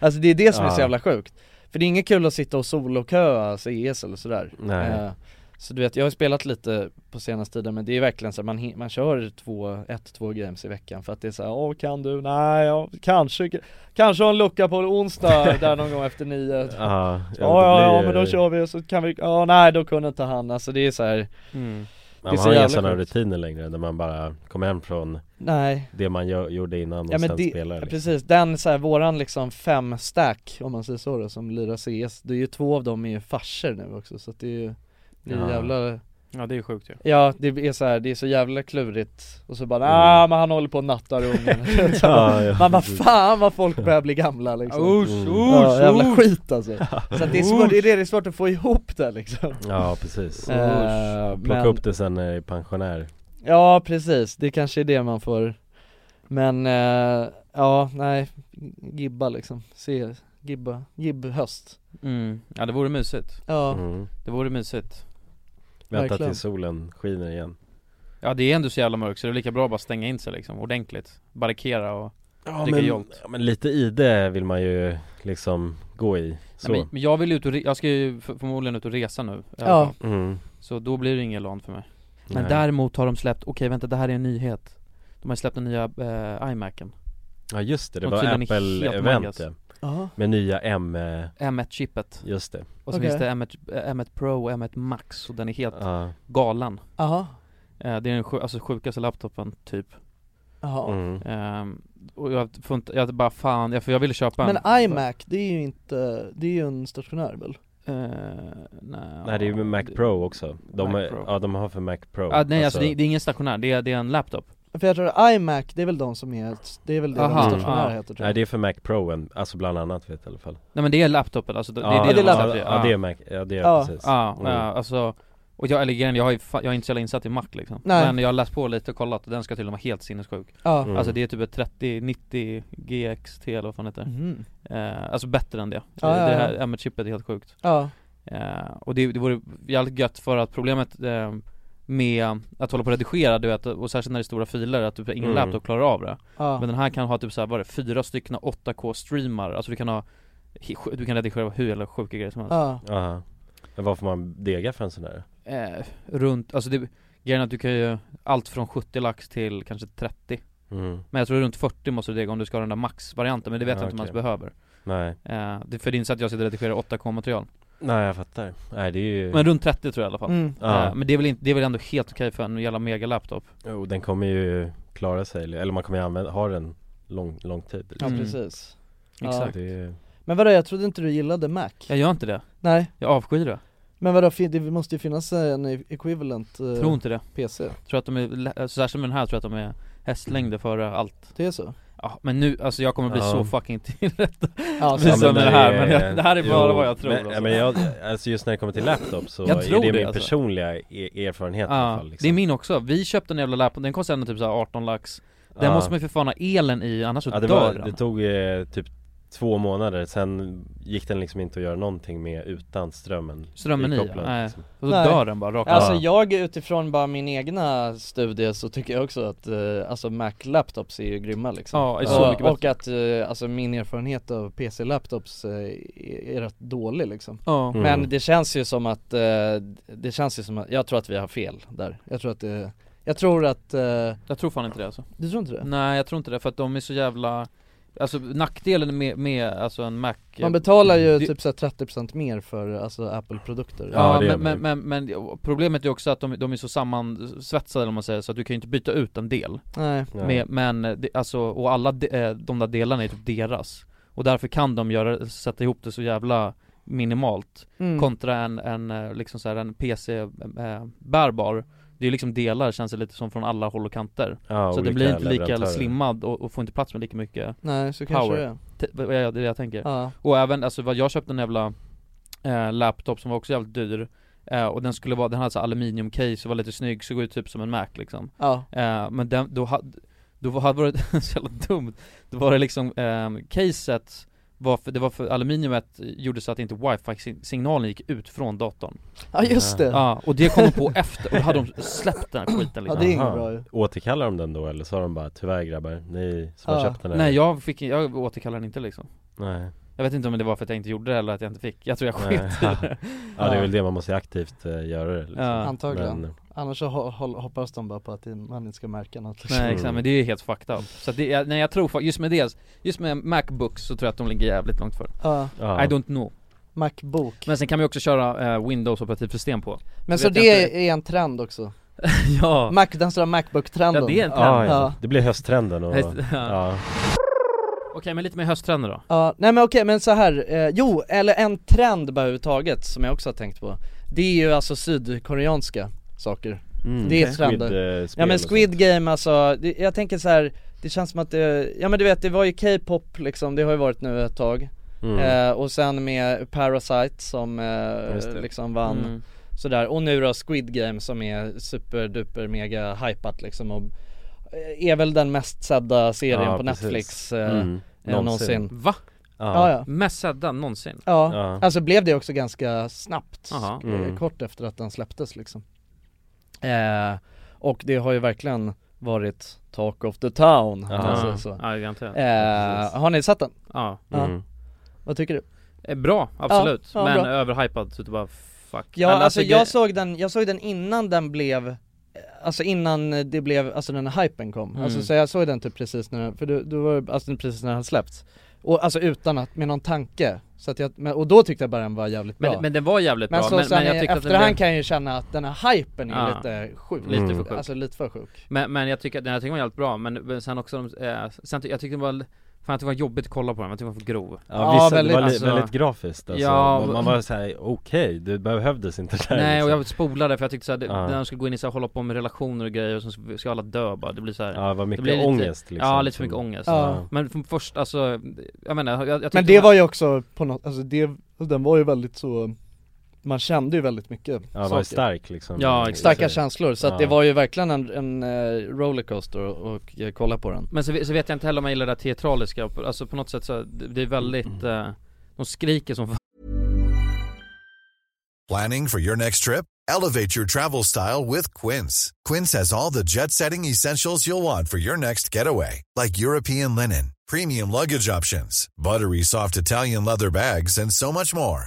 C: Alltså det är det som är så
B: Ja.
C: jävla sjukt För det är inget kul att sitta och alltså, soloköa CS eller sådär
B: Nej.
C: Eh, Så du vet, jag har ju spelat lite på senaste tiden men det är verkligen så här, man, hin- man kör två, ett, två games i veckan för att det är så här, åh kan du? Nej, ja, kanske, kanske har en lucka på onsdag där någon gång efter nio Ja,
B: ja,
C: ja, ja,
B: det blir-
C: men då kör vi och så kan vi, ja nej då kunde inte han alltså det är så här
A: Mm.
B: Man
C: så
B: har inga
C: jävla
B: sådana
C: sjukt.
B: rutiner längre där man bara kommer hem från
C: Nej.
B: det man gör, gjorde innan och
C: Ja men
B: sen
C: det,
B: spelar
C: ja,
B: liksom.
C: precis, den så här, våran liksom fem stack om man säger så då, som lirar CS, det är ju två av dem är ju farser nu också så att det är ju, det är
A: Ja.
C: ja. jävla
A: Ja det är sjukt ju
C: Ja det är så här, det är så jävla klurigt och så bara ah men han håller på och nattar ungen Så
B: Mm. Ja, ja,
C: Man bara
B: precis.
C: fan vad folk börjar bli gamla liksom
B: Usch,
C: Mm.
B: usch,
C: ja, jävla
B: usch.
C: skit alltså Så att det är svårt,
B: Usch.
C: det är det, det är svårt att få ihop det liksom
B: Ja precis,
C: Eh,
B: plocka
C: men-
B: upp det sen när jag är pensionär
C: Ja precis, det kanske är det man får Men, eh, ja nej, gibba liksom, se, gibba, gibbhöst
A: Mm. Ja det vore mysigt
C: Ja.
B: Mm.
A: Det vore mysigt
B: Vänta
A: Verkligen.
B: till solen skiner igen
A: Ja det är ändå så jävla mörkt så det är lika bra att bara stänga in sig liksom ordentligt Barrikera och
B: Ja
A: dricka
B: men,
A: jolt
B: ja, men lite i det vill man ju liksom gå i så
A: Nej, men, men jag vill ut och re- jag ska ju för- förmodligen ut och resa nu i alla
B: Ja.
A: fall.
B: Mm.
A: Så då blir det ingen LAN för mig Men
B: Nej.
A: däremot har de släppt, okej vänta det här är en nyhet De har släppt den nya eh, iMacen
B: Ja just det, det
A: Och
B: var
A: tydligen är helt
B: Apple-event
A: mangas.
B: det.
C: Jaha.
B: Med nya M... eh,
A: M1-chippet
B: Just det
A: Och sen
C: Okej.
A: finns det M1, eh, M1 Pro och M1 Max och den är helt
B: Ja.
A: galen
C: Jaha.
A: Eh, Det är den sju, alltså sjukaste laptopen typ
C: Jaha.
B: Mm.
A: Ehm, Och jag får inte, jag bara fan, jag, för jag ville köpa en
C: Men iMac, det är ju inte, det är ju en stationär väl?
A: Eh, nej,
B: Nej det är ju med Mac Pro också de,
A: Mac
B: är-
A: Pro.
B: Ja de har för Mac Pro
A: Ah, nej alltså, det, är, det är ingen stationär, det är, det är en laptop
C: För jag tror iMac, det är väl de som är, det är väl det
A: Aha.
C: de stationära
A: Ja.
C: heter tror
B: Nej
C: jag
B: det är för Mac Pro, en- alltså bland annat vet jag i alla fall
A: Nej men det är laptopen, alltså det, det
B: Ja,
A: är det
B: ja,
A: de
B: ja,
A: säljer.
B: ja, det är Mac- ja, det är precis.
A: Ja,
B: Mm.
A: ja, alltså och jag, eller grejen, jag, har ju, fa- jag är inte så jävla insatt i Mac liksom
C: Nej.
A: Men jag har läst på lite och kollat och den ska till och med vara helt sinnessjuk
C: Ja. Mm.
A: Alltså det är typ ett 30, 90 GXT eller vad fan det heter
C: Mhm.
A: eh, Alltså bättre än det
C: Ja,
A: Eh,
C: ja,
A: Det
C: ja.
A: här M1-chippet är helt sjukt
C: Ja.
A: eh, Och det, det vore jävligt gött för att problemet eh, med att hålla på och redigera du vet, och särskilt när det är stora filer att typ ingen
C: Mm.
A: laptop klarar av det
C: Ja.
A: Men den här kan ha typ såhär, vad är det, fyra stycken 8K streamar, alltså du kan ha Du kan redigera hur jävla sjuka grejer som helst
C: Ja.
B: Aha. Men vad får man dega för en sån där?
A: eh, runt, alltså det, grejen är att du kan ju allt från 70 lax till kanske 30
B: Mm.
A: Men jag tror runt 40 måste du dega om du ska ha den där max-varianten, men det vet
B: Ja,
A: jag inte om man ens
B: okej.
A: behöver
B: Nej.
A: eh, det, För det är inte så att jag sitter och redigerar 8K-material
B: Nej jag fattar Nej det är ju
A: Men runt 30 tror jag i alla fall
B: Mm. Ja.
A: eh, Men det är, väl inte, det är väl ändå helt okej för en jävla megalaptop
B: Jo den kommer ju klara sig, eller man kommer ju använda, ha den lång, lång tid
C: Ja
B: liksom.
C: precis
A: Mm. Exakt.
B: Det är-
C: Men vadå, jag trodde inte du gillade Mac?
A: Jag gör inte det
C: Nej
A: Jag avskyr det
C: Men vadå, fin- det måste ju finnas en equivalent eh,
A: Tror inte det
C: PC
A: Tror att de är, lä- alltså, särskilt med den här tror jag att de är hästlängder före allt
C: Det är så?
A: Ja men nu, alltså jag kommer bli
B: Ja.
A: så fucking tillrättad
C: Ja,
A: Visar
B: men
A: med det här, men jag, det här är bara
B: jo,
A: vad jag tror
B: men,
A: alltså.
B: men jag, alltså just när det kommer till laptop så
A: Jag
B: är
A: tror
B: det,
A: det,
B: min
A: alltså.
B: personliga e- erfarenhet i
A: Ja,
B: alla fall liksom.
A: det är min också. Vi köpte en jävla laptop, den kostade ändå typ så här 18 lax Den
B: Ja.
A: måste man ju för fan ha elen i, annars så
B: ja, det,
A: dör
B: var,
A: den
B: det tog eh, typ två månader, sen gick den liksom inte att göra någonting med utan strömmen
A: Strömmen i,
B: ikopplad,
A: nej.
B: liksom.
A: Och då dör den bara rakt av.
C: Alltså
A: Ja.
C: jag utifrån bara min egna studie så tycker jag också att eh, alltså Mac-laptops är ju grymma liksom
A: Ja, är så mycket
C: och,
A: bättre.
C: och att eh, alltså min erfarenhet av PC-laptops eh, är, är rätt dålig liksom
A: Ja. Mm.
C: Men det känns ju som att, eh, det känns ju som att, jag tror att vi har fel där Jag tror att det, jag tror att eh,
A: Jag tror fan inte det alltså
C: Du tror inte det?
A: Nej jag tror inte det, för att de är så jävla Alltså nackdelen med, med alltså en Mac
C: Man betalar ju
A: Det-
C: typ så här 30% mer för alltså Apple-produkter
A: Ja, men, men, men, men problemet är också att de, de är så sammansvetsade om man säger så, att du kan ju inte byta ut en del
C: Nej.
A: Med, Men, det, alltså, och alla de, eh, de där delarna är typ deras Och därför kan de göra, sätta ihop det så jävla minimalt
C: Mm.
A: Kontra en, en, eh, liksom så här, en PC-bärbar Det är ju liksom delar, känns det lite som från alla håll och kanter
B: Ja,
A: Så
B: olika
A: den blir inte lika
B: leverantörer.
A: slimmad och, och får inte plats med lika mycket
C: Nej, så kanske
A: power
C: det är.
A: Te- vad jag- Det är det jag tänker
C: Ja.
A: Och även, alltså vad jag köpte en jävla eh, laptop som var också jävligt dyr eh, Och den skulle vara, den hade så här aluminiumcase och var lite snygg, såg ut typ som en Mac liksom
C: Ja.
A: eh, Men den, då hade, då var- hade det varit så jävla dumt Då var det liksom, eh, caset var för, det var för aluminiumet gjorde så att inte wifi-signalen gick ut från datorn
C: Ja, just det.
A: Ja, och det kom de på efter, och då hade de släppt den här skiten liksom
B: Aha. Återkallar de den då eller sa de bara tyvärr grabbar, ni som har köpt den här
A: Nej jag fick, jag återkallade den inte liksom
B: Nej.
A: Jag vet inte om det var för att jag inte gjorde det eller att jag inte fick, jag tror jag
B: Nej.
A: sket i
B: ja.
A: det
B: ja det är väl det man måste aktivt eh, göra det, liksom.
A: Ja.
C: Antagligen,
B: Men,
C: annars så ho- ho- hoppas de bara på att man inte ska märka något liksom.
A: Nej exakt, men det är ju helt fucked up Så att det, jag, nej jag tror fa- just med det, just med Macbooks så tror jag att de ligger jävligt långt före
C: Ja.
A: I don't know
C: Macbook
A: Men sen kan vi också köra eh, Windows operativsystem på
C: Men
A: Så
C: så
A: vet jag
C: det
A: inte-
C: är en trend också?
A: Ja
C: Mac, den stora Macbook-trenden
A: Ja, det är en trend.
B: ja, ja. Det blir hösttrenden och,
A: Höst- ja.
B: ja.
A: Okej men lite mer hösttrender då
C: Ja, nej men okej men så här eh, jo, eller en trend bara överhuvudtaget som jag också har tänkt på Det är ju alltså sydkoreanska saker
B: Mm,
C: Det är
B: okej. Squid,
C: trender
B: eh, spel
C: Ja men
B: och
C: Squid Game alltså, det, jag tänker så här. Det känns som att det, ja men du vet det var ju K-pop liksom, det har ju varit nu ett tag
M: Mm.
C: eh, Och sen med Parasite som
M: Just det.
C: eh, liksom vann
M: Mm.
C: Sådär, och nu då Squid Game som är superduper mega hypat liksom och eh, är väl den mest sedda serien
B: Ja,
C: på
B: precis.
C: Netflix eh,
B: Mm.
C: eh, någonsin.
B: Någonsin.
A: Va?
C: Ja, ja.
A: Mest seddan någonsin
C: Ja, alltså blev det också ganska snabbt,
A: Jaha.
C: eh,
A: Mm.
C: kort efter att den släpptes liksom eh, Och det har ju verkligen varit talk of the town om
A: Ja.
C: man säger så.
A: Ja, garanterat.
C: eh, Har ni sett den?
A: Ja. Mm.
C: Vad tycker du?
A: Eh, Bra, absolut,
C: Ja, ja,
A: men
C: bra.
A: överhypad så det bara fuck
C: Ja
A: Eller,
C: alltså, jag
A: gre-
C: såg den, jag såg den innan den blev Alltså innan det blev, alltså den här hypen kom,
A: Mm.
C: alltså så jag såg den typ precis när den, för du, du var det- alltså precis när den hade släppts Och alltså utan att, med någon tanke, så att jag, men, och då tyckte jag bara den var jävligt bra
A: men, men den var jävligt
C: Men
A: bra
C: så
A: men,
C: sen
A: men
C: i
A: jag tyckte att den
C: efterhand
A: blev...
C: kan jag ju känna att den här hypen är
A: Ja.
C: lite sjuk
A: Lite för sjuk.
C: Alltså lite för sjuk
A: Men, men jag tycker, att- den jag tycker den var jävligt bra, men, men sen också, de- eh, sen, ty- jag tyckte den var, fan jag tyckte det var jobbigt att kolla på den, jag tyckte den var för grov
B: Ja, vissa, väldigt, det var li- väldigt grafiskt alltså.
A: Ja,
B: man, man var såhär, okej, det behövdes inte det här,
A: Nej och
B: liksom.
A: jag spolade för jag tyckte såhär, det-
B: Ja.
A: när de ska gå in i så här, hålla på med relationer och grejer och så ska- ska alla dö bara, det blir såhär
B: Ja, vad mycket
A: det blir lite-
B: ångest, liksom.
A: Ja lite för mycket ångest
C: Ja.
A: Men f- först alltså, jag menar, jag, jag tyckte
C: Men det var ju också på något, alltså det, den var ju väldigt så Man kände ju väldigt mycket
B: Ja, var
C: saker.
B: stark, liksom.
A: Ja, exakt.
C: Starka känslor, så att
A: Ja.
C: det var ju verkligen en, en eh, rollercoaster och, och eh, kolla på den
A: Men så, ve- så vet jag inte heller om jag gillar det här teatraliska, alltså på något sätt så, det, det är
C: Mm.
A: väldigt, eh, de skriker som fan
Q: Planning for your next trip? Elevate your travel style with Quince. Quince has all the jet setting essentials you'll want for your next getaway, like European linen, premium luggage options, buttery soft Italian leather bags, and so much more.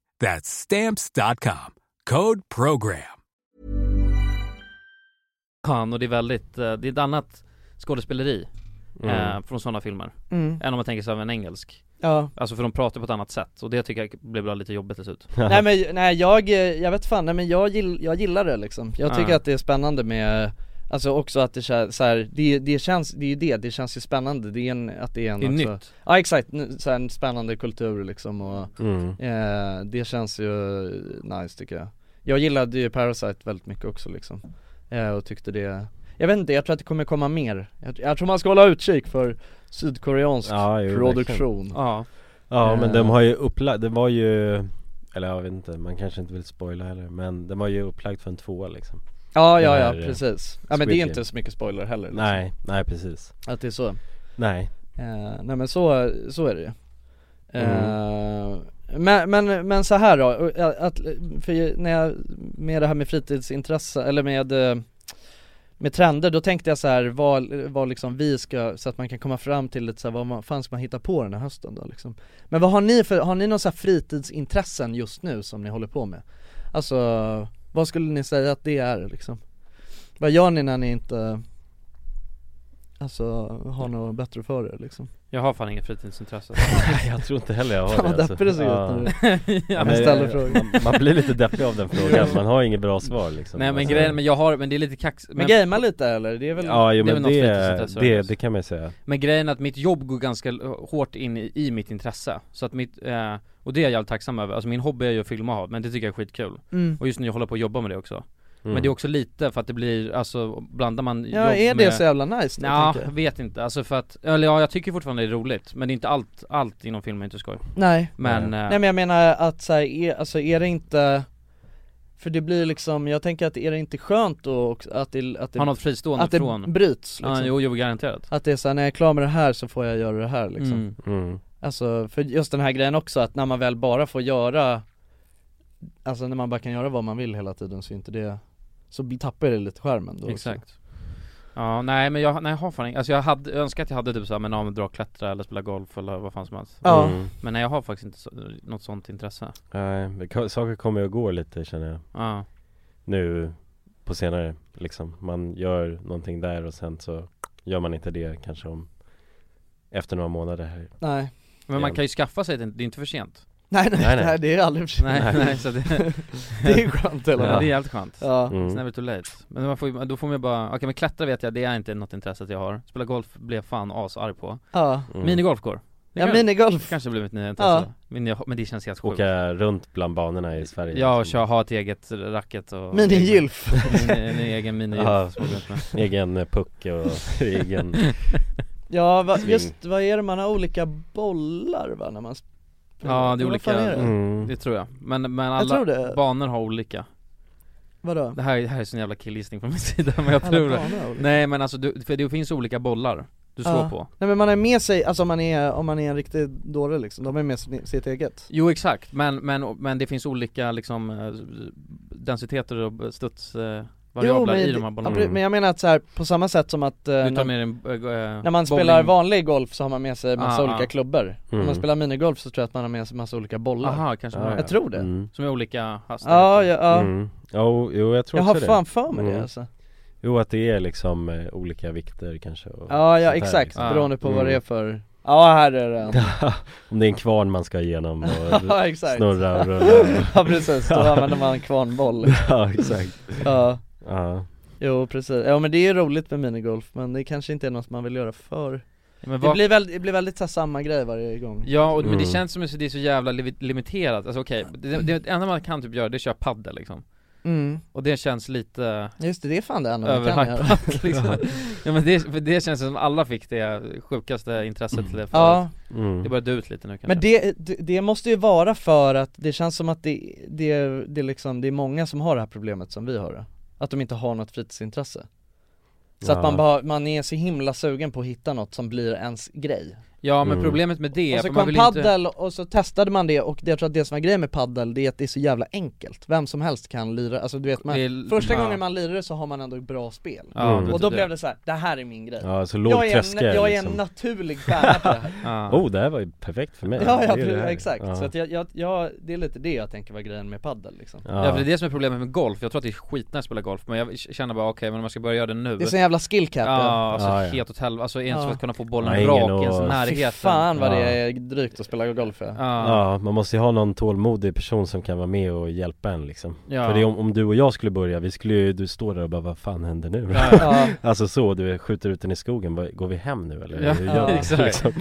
R: That's stamps.com. Code program.
A: och det är väldigt, eh, det är ett annat skådespeleri
R: Mm.
A: eh, från sådana filmer
C: Mm.
A: Än om man tänker sig av en engelsk
C: Ja.
A: Alltså för de pratar på ett annat sätt och det tycker jag blev bara lite jobbigt till slut
C: Nej men nej jag, eh, jag vet fan, nej men jag, gill, jag gillar det liksom Jag tycker
A: Ja.
C: att det är spännande med Alltså också att det känns så här, det, det känns, det är ju det, det känns ju spännande, det är en, att det är en alltså,
A: Det är
C: också,
A: nytt.
C: Ja exakt, n- så här, en spännande kultur liksom och
B: Mm.
C: eh, det känns ju nice tycker jag Jag gillade ju Parasite väldigt mycket också liksom, eh, och tyckte det Jag vet inte, jag tror att det kommer komma mer Jag, jag tror man ska hålla utkik för sydkoreansk
B: Ja, jo,
C: produktion
B: verkligen. Ja men
C: Eh,
B: de har ju upplagt, det var ju Eller jag vet inte, man kanske inte vill spoila heller Men den var ju upplagd för en tvåa liksom
C: Ja, ja,
B: Den
C: ja,
B: här, eh,
C: precis. Ja, men det är
B: Squid
C: inte
B: Game.
C: så mycket spoiler heller, liksom.
B: Nej, nej precis
C: Att det är så?
B: Nej
C: Eh, nej men så, så är det ju eh, men, men, men så här då, eh, att, för ju- när jag, med det här med fritidsintresse, eller med eh, med trender, då tänkte jag så här, vad, vad liksom vi ska, så att man kan komma fram till lite så här, vad man, fan ska man hitta på den här hösten då liksom Men vad har ni för, har ni några så här fritidsintressen just nu som ni håller på med? Alltså, vad skulle ni säga att det är liksom? Vad gör ni när ni inte, alltså har något bättre för er liksom?
A: Jag har fan inget fritidsintresse
B: Nej jag tror inte heller jag har
A: Fan, vad
B: det alltså.
A: deppig det såg ut nu. Ja, men
B: Men jag-
A: ställer
B: man,
A: frågan.
B: man blir lite deppig av den frågan, man har inget bra svar liksom
A: Nej men
B: Alltså,
A: grejen, men jag har, men det är lite kax
C: Men gamea lite eller? Det är väl
B: Ja, jo,
A: det är väl
B: men
A: något
B: det-
A: fritidsintresse,
B: det-
A: alltså.
B: det kan man ju säga.
A: Men grejen är att mitt jobb går ganska l- hårt in i, i mitt intresse Så att mitt, eh, och det är jag jävligt tacksam över Alltså min hobby är ju att filma av, men det tycker jag är skitkul
C: Mm.
A: Och just nu jag håller på att jobba med det också
C: Mm.
A: Men det är också lite för att det blir, alltså blandar man
C: Ja, är det så jävla nice då,
A: Ja,
C: tänker jag?
A: vet inte, alltså för att, eller ja jag tycker fortfarande det är roligt Men det är inte allt, allt inom film är inte skoj
C: Nej
A: Men, eh,
C: Nej men jag menar att så här, är, alltså är det inte För det blir liksom, jag tänker att är det inte skönt då också, att det, att det
A: Ha något fristående
C: Att det
A: från-
C: bryts liksom?
A: Ja, jo, jo, garanterat.
C: Att det är såhär, när jag är klar med det här så får jag göra det här liksom
A: Mm.
B: Mm.
C: Alltså för just den här grejen också att när man väl bara får göra Alltså när man bara kan göra vad man vill hela tiden så är inte det Så bli- tappar det lite skärmen då också.
A: Exakt Ja, nej men jag, nej, jag har fan ing- alltså jag hade, jag önskar att jag hade typ såhär, men ja men dra och klättra eller spela golf eller vad fan som helst
B: Ja. Mm.
A: Men nej jag har faktiskt inte så, något sånt intresse
B: Nej, det ka- saker kommer och går lite känner jag
A: Ja.
B: Nu på senare liksom, man gör någonting där och sen så gör man inte det kanske om Efter några månader här
C: Nej.
A: Men man
B: igen.
A: kan ju skaffa sig, det, det är inte för sent
C: Nej nej, nej, det är aldrig för sent.
A: Nej nej så det,
C: Det är skönt i alla
A: Ja,
C: fall.
A: Det är jävligt skönt,
C: Ja.
B: Mm.
A: It's never too late Men man får, ju- då får man ju bara, okej men klättra vet jag, det är inte något intresse att jag har Spela golf blev jag fan asarg på
C: Ja.
B: Mm.
A: Minigolf går Det
C: Ja,
A: kanske-
C: minigolf.
A: Kanske blir mitt nya
C: Ja.
A: intresse men, jag, men det känns helt sjukt
B: Åka runt bland banorna i Sverige liksom.
A: Ja och köra, ha ett eget racket och
C: Minigylf.
A: En, en egen minigylf
B: Ja,
A: som man går runt med.
B: egen eh, puck och egen
C: Ja va,
B: Swing.
C: just vad är det, man har olika bollar va när man spelar?
A: Ja det är
C: Vad fan
A: olika,
C: är
A: det?
C: Mm. det?
B: Mm.
A: tror jag Men, men
C: tror
A: alla
C: det.
A: banor har olika
C: Vadå?
A: Det här, det här är sån jävla killgissning från min sida men jag
C: Alla
A: tror
C: banor har
A: det
C: olika.
A: Nej men alltså du, för det finns olika bollar du slår
C: Ja.
A: på
C: Nej men man är med sig, alltså om man är, om man är en riktig dåre liksom, de är med sin- sitt eget
A: Jo exakt, men, men, men det finns olika liksom eh, densiteter och studsvariabler i
C: det-
A: de här bollarna
C: ja, pre- men jag menar att så här, på samma sätt som att eh,
A: Du tar
C: när,
A: med din, eh, eh,
C: när man
A: bowling-
C: spelar vanlig golf så har man med sig massa
A: Ah,
C: olika
A: ah.
C: klubbor När
A: Mm.
C: man spelar minigolf så tror jag att man har med sig massa olika bollar
A: Aha, kanske man har
C: Jag tror det
A: Som är olika hastigheter
C: Ja, ja, ja.
B: Mm. Jo, jo jag tror
C: Jag har
B: också
C: fan
B: det. Mm.
C: för mig det, alltså.
B: Jo att det är liksom eh, olika vikter kanske och
C: Ja, ja
B: sånt här,
C: exakt,
B: liksom.
C: beroende på vad
B: Mm.
C: det är för Ja här är den
B: Om det är en kvarn man ska igenom och
C: Ja, exakt.
B: snurra och rulla
C: Ja, precis. Då använder man en kvarnboll.
B: Ja exakt
C: Ja.
B: Ja
C: Jo precis, ja men det är ju roligt med minigolf men det kanske inte är något man vill göra för
A: men
C: det,
A: vad-
C: blir väl, det blir väldigt så här, samma grej varje gång
A: Ja, och, men det känns som att det är så jävla li- limiterat, alltså okej, det, det, det enda man kan typ göra det är att köra padel liksom
C: Mm.
A: Och det känns lite
C: Just det, det är fan det enda man kan göra.
A: överhypat liksom Ja men det, för det känns som alla fick det sjukaste intresset till det
C: Mm. Ja.
A: förut.
C: Mm.
A: Det börjar dö ut lite nu kanske
C: Men det, det, det måste ju vara för att det känns som att det, det, det, liksom, det är många som har det här problemet som vi har det. Att de inte har något fritidsintresse Så
A: Ja.
C: att man, bara, man är så himla sugen på att hitta något som blir ens grej
A: Ja, men Mm. problemet med det är
C: Och så
A: att man
C: kom
A: vill inte-
C: paddel och så testade man det och det- jag tror att det som är grejen med paddel det är att det är så jävla enkelt Vem som helst kan lira, alltså du vet man,
A: Det är-
C: första
A: ja.
C: gången man lirar så har man ändå ett bra spel
A: Ja,
B: Mm.
A: det-
C: Och då
A: det-
C: blev det så här, det här är min grej
B: Ja, så låg
C: jag, är en,
B: tröskel,
C: jag är en
B: liksom.
C: naturlig stjärna på det här
B: Oh det här var ju perfekt för mig
C: Ja, ja
B: Det är
C: precis,
B: det här.
C: exakt.
B: Ja.
C: Så att jag, jag, jag, det är lite det jag tänker var grejen med paddel liksom
A: Ja. för det är det som är problemet med golf, jag tror att det är skitnice att spela golf men jag känner bara okej men om man ska börja göra det nu
C: Det är sån jävla skill cap,
A: Ja,
C: ja.
A: alltså
C: Ja, ja.
A: helt åt helvete, alltså ens
C: Ja.
A: för att kunna få bollen
B: Ja, ingen
A: rak i ens
B: och-
A: närhet
C: Fy fan vad det
B: Ja.
C: är drygt att spela golf ja.
B: Ja, man måste ju ha någon tålmodig person som kan vara med och hjälpa en liksom
C: Ja.
B: För det är om, om du och jag skulle börja, vi skulle ju, du står där och bara vad fan händer nu?
C: Ja, ja.
B: alltså så, du skjuter ut den i skogen, Vad- går vi hem nu eller?
A: Ja,
B: Hur gör vi?
A: exakt.
B: Liksom.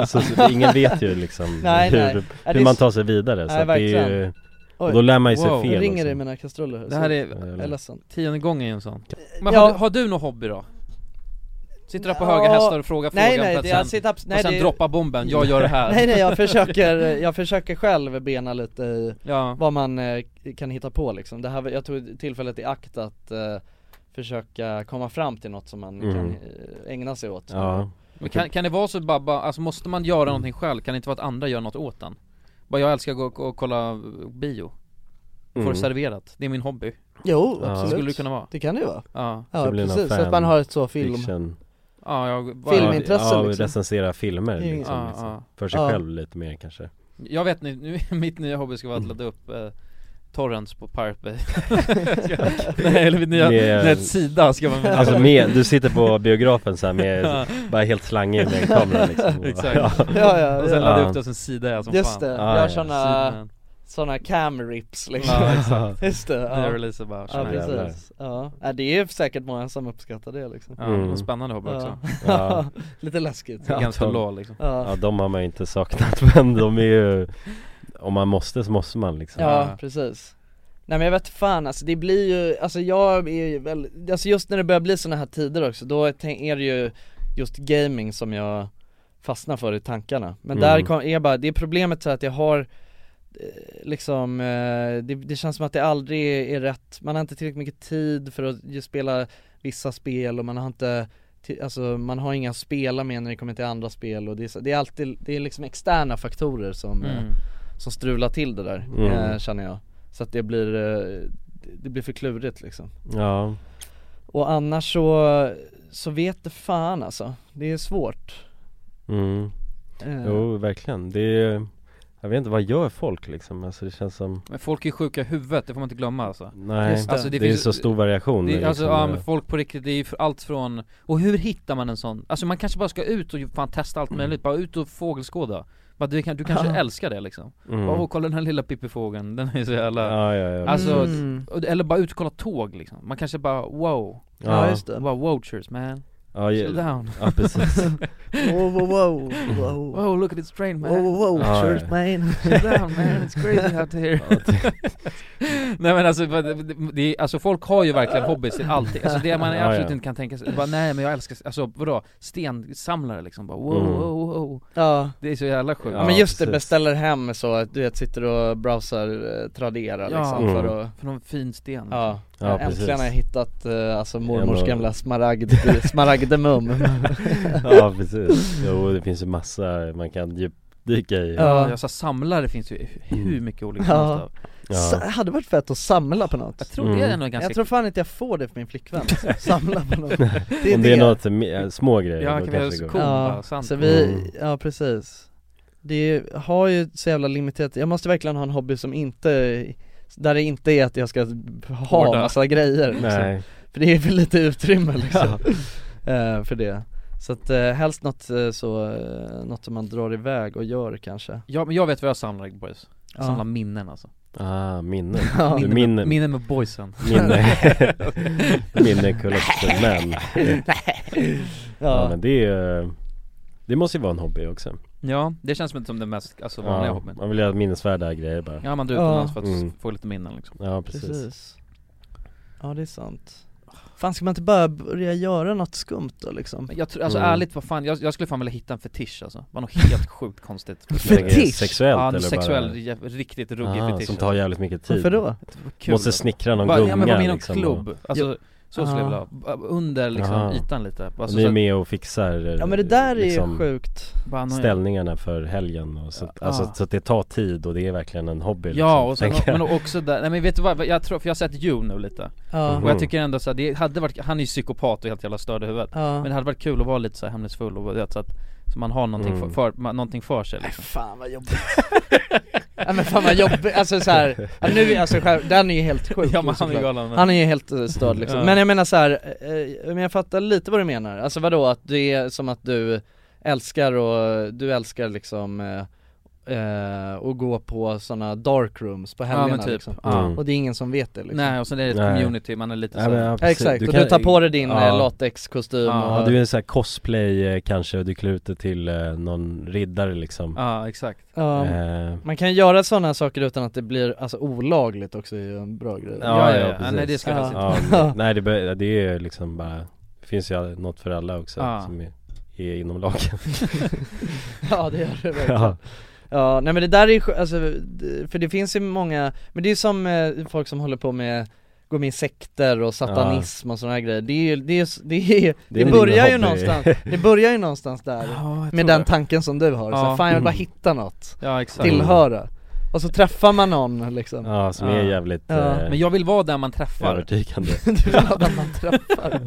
B: Alltså, så, ingen vet ju liksom
C: Nej,
B: hur,
C: nej. Ja, det
B: hur
C: är
B: man
C: s-
B: tar sig vidare
C: Nej,
B: så att det är ju,
C: verkligen.
B: och då lär man ju sig
C: Wow.
B: fel
C: Nu
B: och
C: ringer
B: så.
C: det i mina kastruller,
A: Det här
C: så-
A: är,
C: jag är ledsen
A: tionde gången i en sån Men
C: Eh, Ja.
A: har, du- har du någon hobby då? Sitter du på höga hästar och frågar
C: nej,
A: frågan
C: nej,
A: för att
C: det-
A: sen,
C: jag sitter abs- nej,
A: och sen
C: det-
A: droppa bomben, jag gör det här
C: Nej nej jag försöker, jag försöker själv bena lite i
A: Ja.
C: vad man eh, kan hitta på liksom det här, var- Jag tog tillfället i akt att eh, försöka komma fram till något som man
B: Mm.
C: kan eh, ägna sig åt
B: Ja.
A: Men kan, kan det vara så Babba, alltså måste man göra någonting själv? Kan det inte vara att andra gör något åt en? Bara jag älskar att gå och, och kolla bio Får
C: Mm.
A: det serverat, det är min hobby
C: Jo,
A: Så
C: absolut.
A: skulle det kunna vara
C: Det kan det ju vara.
A: Ja,
C: Ja, Så blir det någon precis. Så att man har ett så film-
B: fiction.
A: Ja, jag,
C: Filmintresse,
B: ja,
C: liksom.
B: recensera filmer
A: Det är ju-
B: liksom,
A: Ja,
B: liksom.
A: ja.
B: för sig
A: Ja.
B: själv lite mer kanske Mm.
A: Jag vet nu, nu mitt nya hobby ska vara att ladda upp eh, torrents på Pirate Bay Nej eller vid nya,
B: Med-
A: yeah. sida ska man
B: Alltså med, du sitter på biografen så här med, bara helt slangig med kameran liksom
A: Exakt
C: Ja, ja,
A: Och sen
C: ja.
A: laddar upp det och sen sidar jag som
C: Just
A: fan
C: det,
B: Ja,
C: gör
B: ja.
C: såna, såna cam rips liksom
A: Ja, exakt.
C: Just det, ja
A: Nya releaser bara,
C: Ja
A: tjena, jävlar.
C: precis, ja. ja det är säkert många som uppskattar det liksom
A: Ja, Mm. och spännande hobby också.
C: ja.
B: Ja.
C: Lite läskigt
A: Against the law, liksom.
C: Ja.
B: Ja de har man ju inte saknat men de är ju Om man måste så måste man liksom
C: Ja precis Nej men jag vet fan alltså det blir ju, alltså jag är ju väl, alltså just när det börjar bli såna här tider också då är tänk- är det ju just gaming som jag fastnar för i tankarna Men
M: Mm.
C: där kom, är jag bara, det är problemet så att jag har eh, liksom, eh, det, det känns som att det aldrig är, är rätt, man har inte tillräckligt mycket tid för att ju spela vissa spel och man har inte ti- Alltså man har inga att spela med när det kommer till andra spel och det är, så- det är alltid, det är liksom externa faktorer som, eh,
A: Mm.
C: som strular till det där
B: Mm.
C: eh, känner jag Så att det blir, eh, det blir för klurigt liksom
B: Ja
C: Och annars så, så vet det fan alltså, det är svårt
B: mm.
C: Eh.
B: Jo verkligen, det är Jag vet inte, vad gör folk liksom? Alltså det känns som
A: Men folk är ju sjuka i huvudet, det får man inte glömma alltså
B: Nej, Just det. det är ju så stor variation,
A: det,
B: liksom.
A: Alltså ja men folk på riktigt, det är ju för- allt från Och hur hittar man en sån? Alltså man kanske bara ska ut och ju fan testa allt möjligt, bara ut och fågelskåda bara, du, kan, du kanske
C: Ja.
A: älskar det liksom?
B: Mm.
A: Bara, åh kolla den här lilla pippifågeln, den är ju så jävla
B: Ja, ja, ja,
A: Alltså,
B: precis.
C: Mm.
A: och- eller bara ut och kolla tåg liksom, man kanske bara wow
B: Ja, Ja. just
A: Bara watchers man
B: Ja, ja.
A: Slow down
B: Ja, precis.
C: Wow wow wow, wow
A: Wow look at this train man
C: Wow wow wow,
A: Ja,
C: shirt
A: ja.
C: man
A: Slow down man, it's crazy out here Nej men alltså, vad- det- det, är- alltså folk har ju verkligen hobbies till allting, alltså det man
B: Ja,
A: absolut
B: ja.
A: inte kan tänka sig, bara nej men jag älskar, alltså vadå, stensamlare liksom bara wow
C: Mm.
A: wow wow
C: Ja
A: Det är så jävla sjukt
C: Ja, men just det, beställer hem så att du vet, sitter och browsar eh, Tradera
A: Ja,
C: liksom
A: Mm.
C: för att
A: för någon fin sten
C: Ja,
A: Ja, precis.
C: äntligen har jag hittat eh, alltså mormors
B: Ändå-
C: gamla smaragd, smaragdemum
B: Ja precis, jo det finns ju massa man kan djupdyka i
A: Ja, alltså samlare finns ju
B: Mm.
A: hur mycket olika som helst
C: Ja.
A: av
B: Ja.
C: Sa- hade varit fett att samla på något Jag
A: tror det är Mm. ändå ganska-
C: Jag tror fan inte jag får det för min flickvän, samla på något
B: Om det är något Alltså, me- äh, små grejer,
A: Ja,
B: då
A: kan vi
B: kanske
A: göra
B: det
A: så
B: går.
A: coolt?
C: Ja,
A: bara, sant.
C: så vi,
A: Mm.
C: ja precis Det är- har ju så jävla limiterat, jag måste verkligen ha en hobby som inte, där det inte är att jag ska ha
B: Hårda.
C: massa grejer liksom.
B: Nej.
C: För det är för lite utrymme liksom eh, för det Så att eh, helst något eh, så, eh, något som man drar iväg och gör kanske
A: Ja men jag vet vad jag samlar boys, jag
C: Ja.
A: samlar minnen alltså
B: Ah, minnen.
A: Ja.
B: Du,
A: Minnen-
B: minnen.
A: minnen med boysen.
B: Minne, minne collection men. ja men det är, eh, det måste ju vara en hobby också
A: Ja, det känns inte som den mest alltså, vanliga
B: ja,
A: hobbyn
B: Man vill göra minnesvärda grejer bara
A: Ja man drar
C: Ja.
A: utomlands för att
B: Mm.
A: få lite minnen liksom
B: Ja precis,
C: Ja det är sant Fan ska man inte bara börja göra något skumt då liksom?
A: Jag tror, alltså
C: Mm.
A: ärligt, vad fan, jag, jag skulle fan vilja hitta en fetisch alltså, det var något helt sjukt konstigt
C: Fetisch?
B: Sexuellt
A: ja,
B: eller bara-
A: sexuell, jä- riktigt ruggig
B: Ah,
A: fetisch
B: som tar jävligt mycket tid.
C: Varför då?
A: Kul,
B: Måste
A: alltså.
B: snickra någon
A: Bara- Ja men
B: gunga,
A: vara med i någon
B: liksom,
A: klubb,
B: och-
A: alltså
C: Ja.
A: så skulle jag vilja
C: Ah.
A: ha. B- under liksom
B: Ah.
A: ytan lite Alltså,
B: Och
A: så
B: ni är
A: att-
B: med och fixar eh,
C: Ja, men det där är ju
B: liksom,
C: sjukt.
A: Bara någon-
B: Ställningarna för helgen och så,
A: Ja.
B: alltså, så att det tar tid och det är verkligen en hobby
A: Ja, och sen,
B: liksom, tänker jag.
A: men också där, nej men vet du vad, jag tror, för jag har sett You nu lite
C: Ja.
A: Och jag
B: Mhm.
A: tycker ändå så här, det hade varit, han är ju psykopat och helt jävla störd i
B: Ah.
A: huvudet
C: Ja.
A: Men det hade varit kul att vara lite så här hemlighetsfull och du vet, så att så man har någonting,
C: Mm.
A: för, för, man, någonting för sig liksom.
C: Fan vad jobbigt Nej men fan vad jobbigt, alltså så här, ja, nu, alltså själv, den är ju helt sjuk
A: Ja, men han är
C: såklart.
A: galen, men-
C: Han är ju helt eh, störd liksom,
A: Ja.
C: men jag menar så här, eh, men jag fattar lite vad du menar, alltså vadå att det är som att du älskar och, du älskar liksom eh, eh, och gå på sådana dark rooms på
A: Ja, men
C: helgerna
A: typ.
C: liksom.
B: Ah.
A: Ja.
C: och det är ingen som vet det liksom
A: Nej och sen är det ett
B: Nej.
A: community, man är lite
B: Ja,
A: så
B: men
A: här,
B: ja,
C: Ja,
B: precis.
C: exakt,
B: Du
C: och
B: kan-
C: du tar på dig din
B: Ja.
C: eh, latexkostym
B: Ja,
C: och
B: du är en sån här cosplay eh, kanske och du klär ut dig till eh, någon riddare liksom
A: Ja exakt
C: Ja.
B: Eh,
C: Man kan göra sådana saker utan att det blir alltså olagligt också är ju en bra grej
B: Ja, ja, precis.
A: nej, det ska jag helst
B: ja,
A: inte.
B: men- Nej det, bör, det är ju liksom bara Det finns ju något för alla också
C: Ja.
B: som är, är inom lagen
C: Ja det gör det verkligen
B: Ja.
C: ja. nej men det där är ju skö- alltså, d- för det finns ju många, men det är ju som eh, folk som håller på med Går med i sekter och satanism och sådana här grejer, det är ju, det är, ju s- det, är, det,
B: Det är min
C: börjar ju
B: hobby.
C: någonstans, det börjar ju någonstans där
A: jag tror
C: Med den
A: det.
C: tanken som du har, så
A: Ja.
C: fan jag vill bara
A: Mm.
C: hitta något
A: Ja, exakt.
C: Tillhöra Och så träffar man någon liksom
B: Ja, som är jävligt
C: Ja.
B: eh,
A: Men jag vill vara där man träffar
B: övertygande
C: Du vill ha dem man träffar,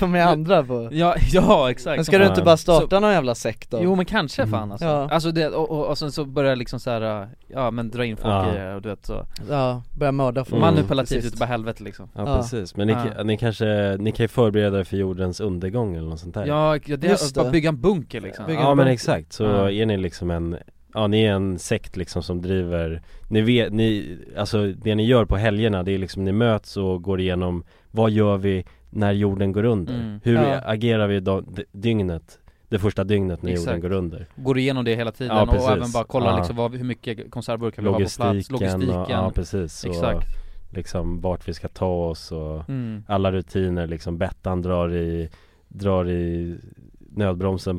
C: de är andra på
A: Ja, ja exakt
C: Men ska du inte bara starta någon jävla sekt då?
A: Jo men kanske
B: Mm.
A: fan alltså,
C: Ja.
A: alltså det, och, och, och sen så börjar jag liksom så här, ja men dra in folk
B: Ja. Mm.
A: i det och du vet så
C: Ja, börja mörda folk
A: Manipulativt
C: Precis.
A: utav helvete liksom
B: Ja, precis, men ni,
A: Ja.
B: ka- ni kanske, ni kan ju förbereda er för jordens undergång eller något sånt där
A: Ja, ja det,
C: Just
A: Just
C: det.
A: bara bygga en bunker liksom
C: Bygga en
B: Ja men
C: bunker.
B: exakt, så
A: Ja.
B: är ni liksom en Ja ni är en sekt liksom som driver Ni vet, ni, alltså det ni gör på helgerna det är liksom ni möts och går igenom Vad gör vi när jorden går under?
A: Mm.
B: Hur
A: Ja.
B: agerar vi då, d- dygnet? Det första dygnet när jorden
A: Exakt.
B: går under
A: Går igenom det hela tiden
B: Ja, precis.
A: och även bara kolla
B: Ja.
A: liksom vad, hur mycket konservburkar vi har på plats,
B: Logistiken,
A: logistiken
B: och, ja precis och
A: Exakt
B: Liksom vart vi ska ta oss och
A: Mm.
B: alla rutiner liksom Bettan drar i, drar i nödbromsen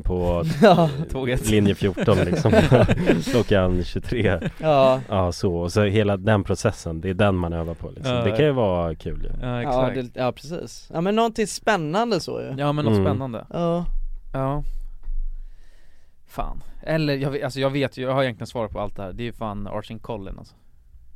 B: på
C: Ja.
A: Tåget.
B: linje 14 liksom klockan 23
C: Ja.
B: ja så, och så hela den processen, det är den man övar på liksom.
C: Ja.
B: Det kan ju vara kul ju
C: ja, det, ja precis, ja men någonting spännande så ju
A: Ja men något
B: Mm.
A: spännande
C: Ja
A: Ja Fan, eller jag vet, alltså jag vet ju, jag har egentligen svar på allt det här, det är ju fan Archie Collin alltså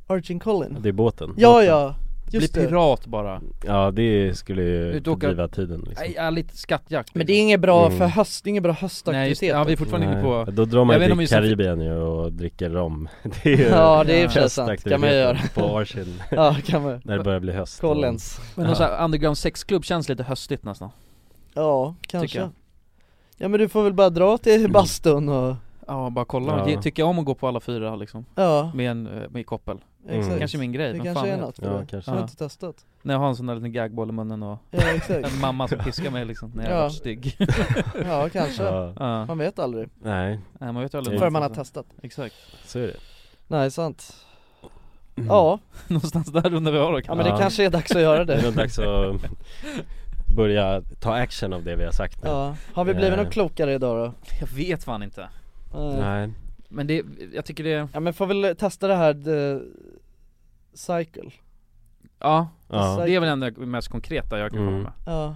C: Archie Collin
B: Det är båten
C: Ja ja, just
A: Bli
C: det
A: pirat bara, liksom.
B: Ja det skulle ju
A: Ut och åka-
B: driva tiden liksom.
A: Nej, ja, lite skattjakt
C: Men det är inget bra
B: Mm.
C: för höst, det är inget bra
A: Nej just det,
C: höstaktivitet
A: ja vi är fortfarande inne
B: Nej,
A: på
B: Då drar
A: Jag
B: man
A: vet
B: ju
A: inte om
B: till
A: just-
B: Karibien ju och dricker rom Det är ju
C: Ja, det är i och för sig sant. Kan man ju göra.
B: höstaktiviteten På Arsin
C: Ja, kan man.
B: När det börjar bli höst
C: Collins.
A: Men någon sån här underground sexklubb känns lite höstigt nästan
C: Ja,
A: Tycker
C: kanske
A: jag.
C: Ja men du får väl bara dra till bastun och
A: Ja bara kolla,
C: Ja.
A: Ge- tycker jag om att gå på alla fyra liksom
C: Ja.
A: Med en, eh, med koppel
C: Exakt.
A: Kanske min grej,
C: Det
A: vem
C: kanske
A: fan
C: är
A: vet.
C: något för Ja, dig. kanske. Jag har inte testat.
A: När jag har en sån där liten gagboll i munnen och
C: Ja, exakt.
A: en mamma som piskar mig liksom när jag
C: Ja.
A: är stygg
C: Ja, kanske. Man vet aldrig.
B: Nej
A: Nej man vet ju aldrig
C: Förrän man har testat
A: Exakt
B: Så är det
C: Nej, sant
B: Mm.
C: Ja
A: Någonstans där rundar vi av då
C: Ja men det kanske är dags att göra det
B: Det är nog dags att börja ta action av det vi har sagt nu
C: Ja, har vi blivit
B: Eh,
C: något klokare idag då? Eh,
A: Jag vet fan inte
B: Nej
A: Men det, jag tycker det
C: Ja men får väl testa det här the cycle
A: Ja,
B: Ja.
A: det är väl det mest konkreta jag kan
B: Mm.
A: komma med
C: Ja,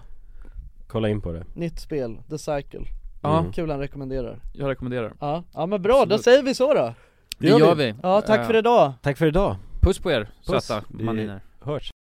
B: Kolla in på det
C: nytt spel, the cycle
A: Ja.
C: Mm. Kul han rekommenderar
A: Jag rekommenderar
C: Ja, ja men bra, då
A: Absolut.
C: säger vi så då
A: Det gör vi
C: Ja, tack
A: Eh,
C: för idag
B: Tack för idag
A: Puss på er,
B: Puss.
A: söta
B: Vi
A: maniner
B: hörs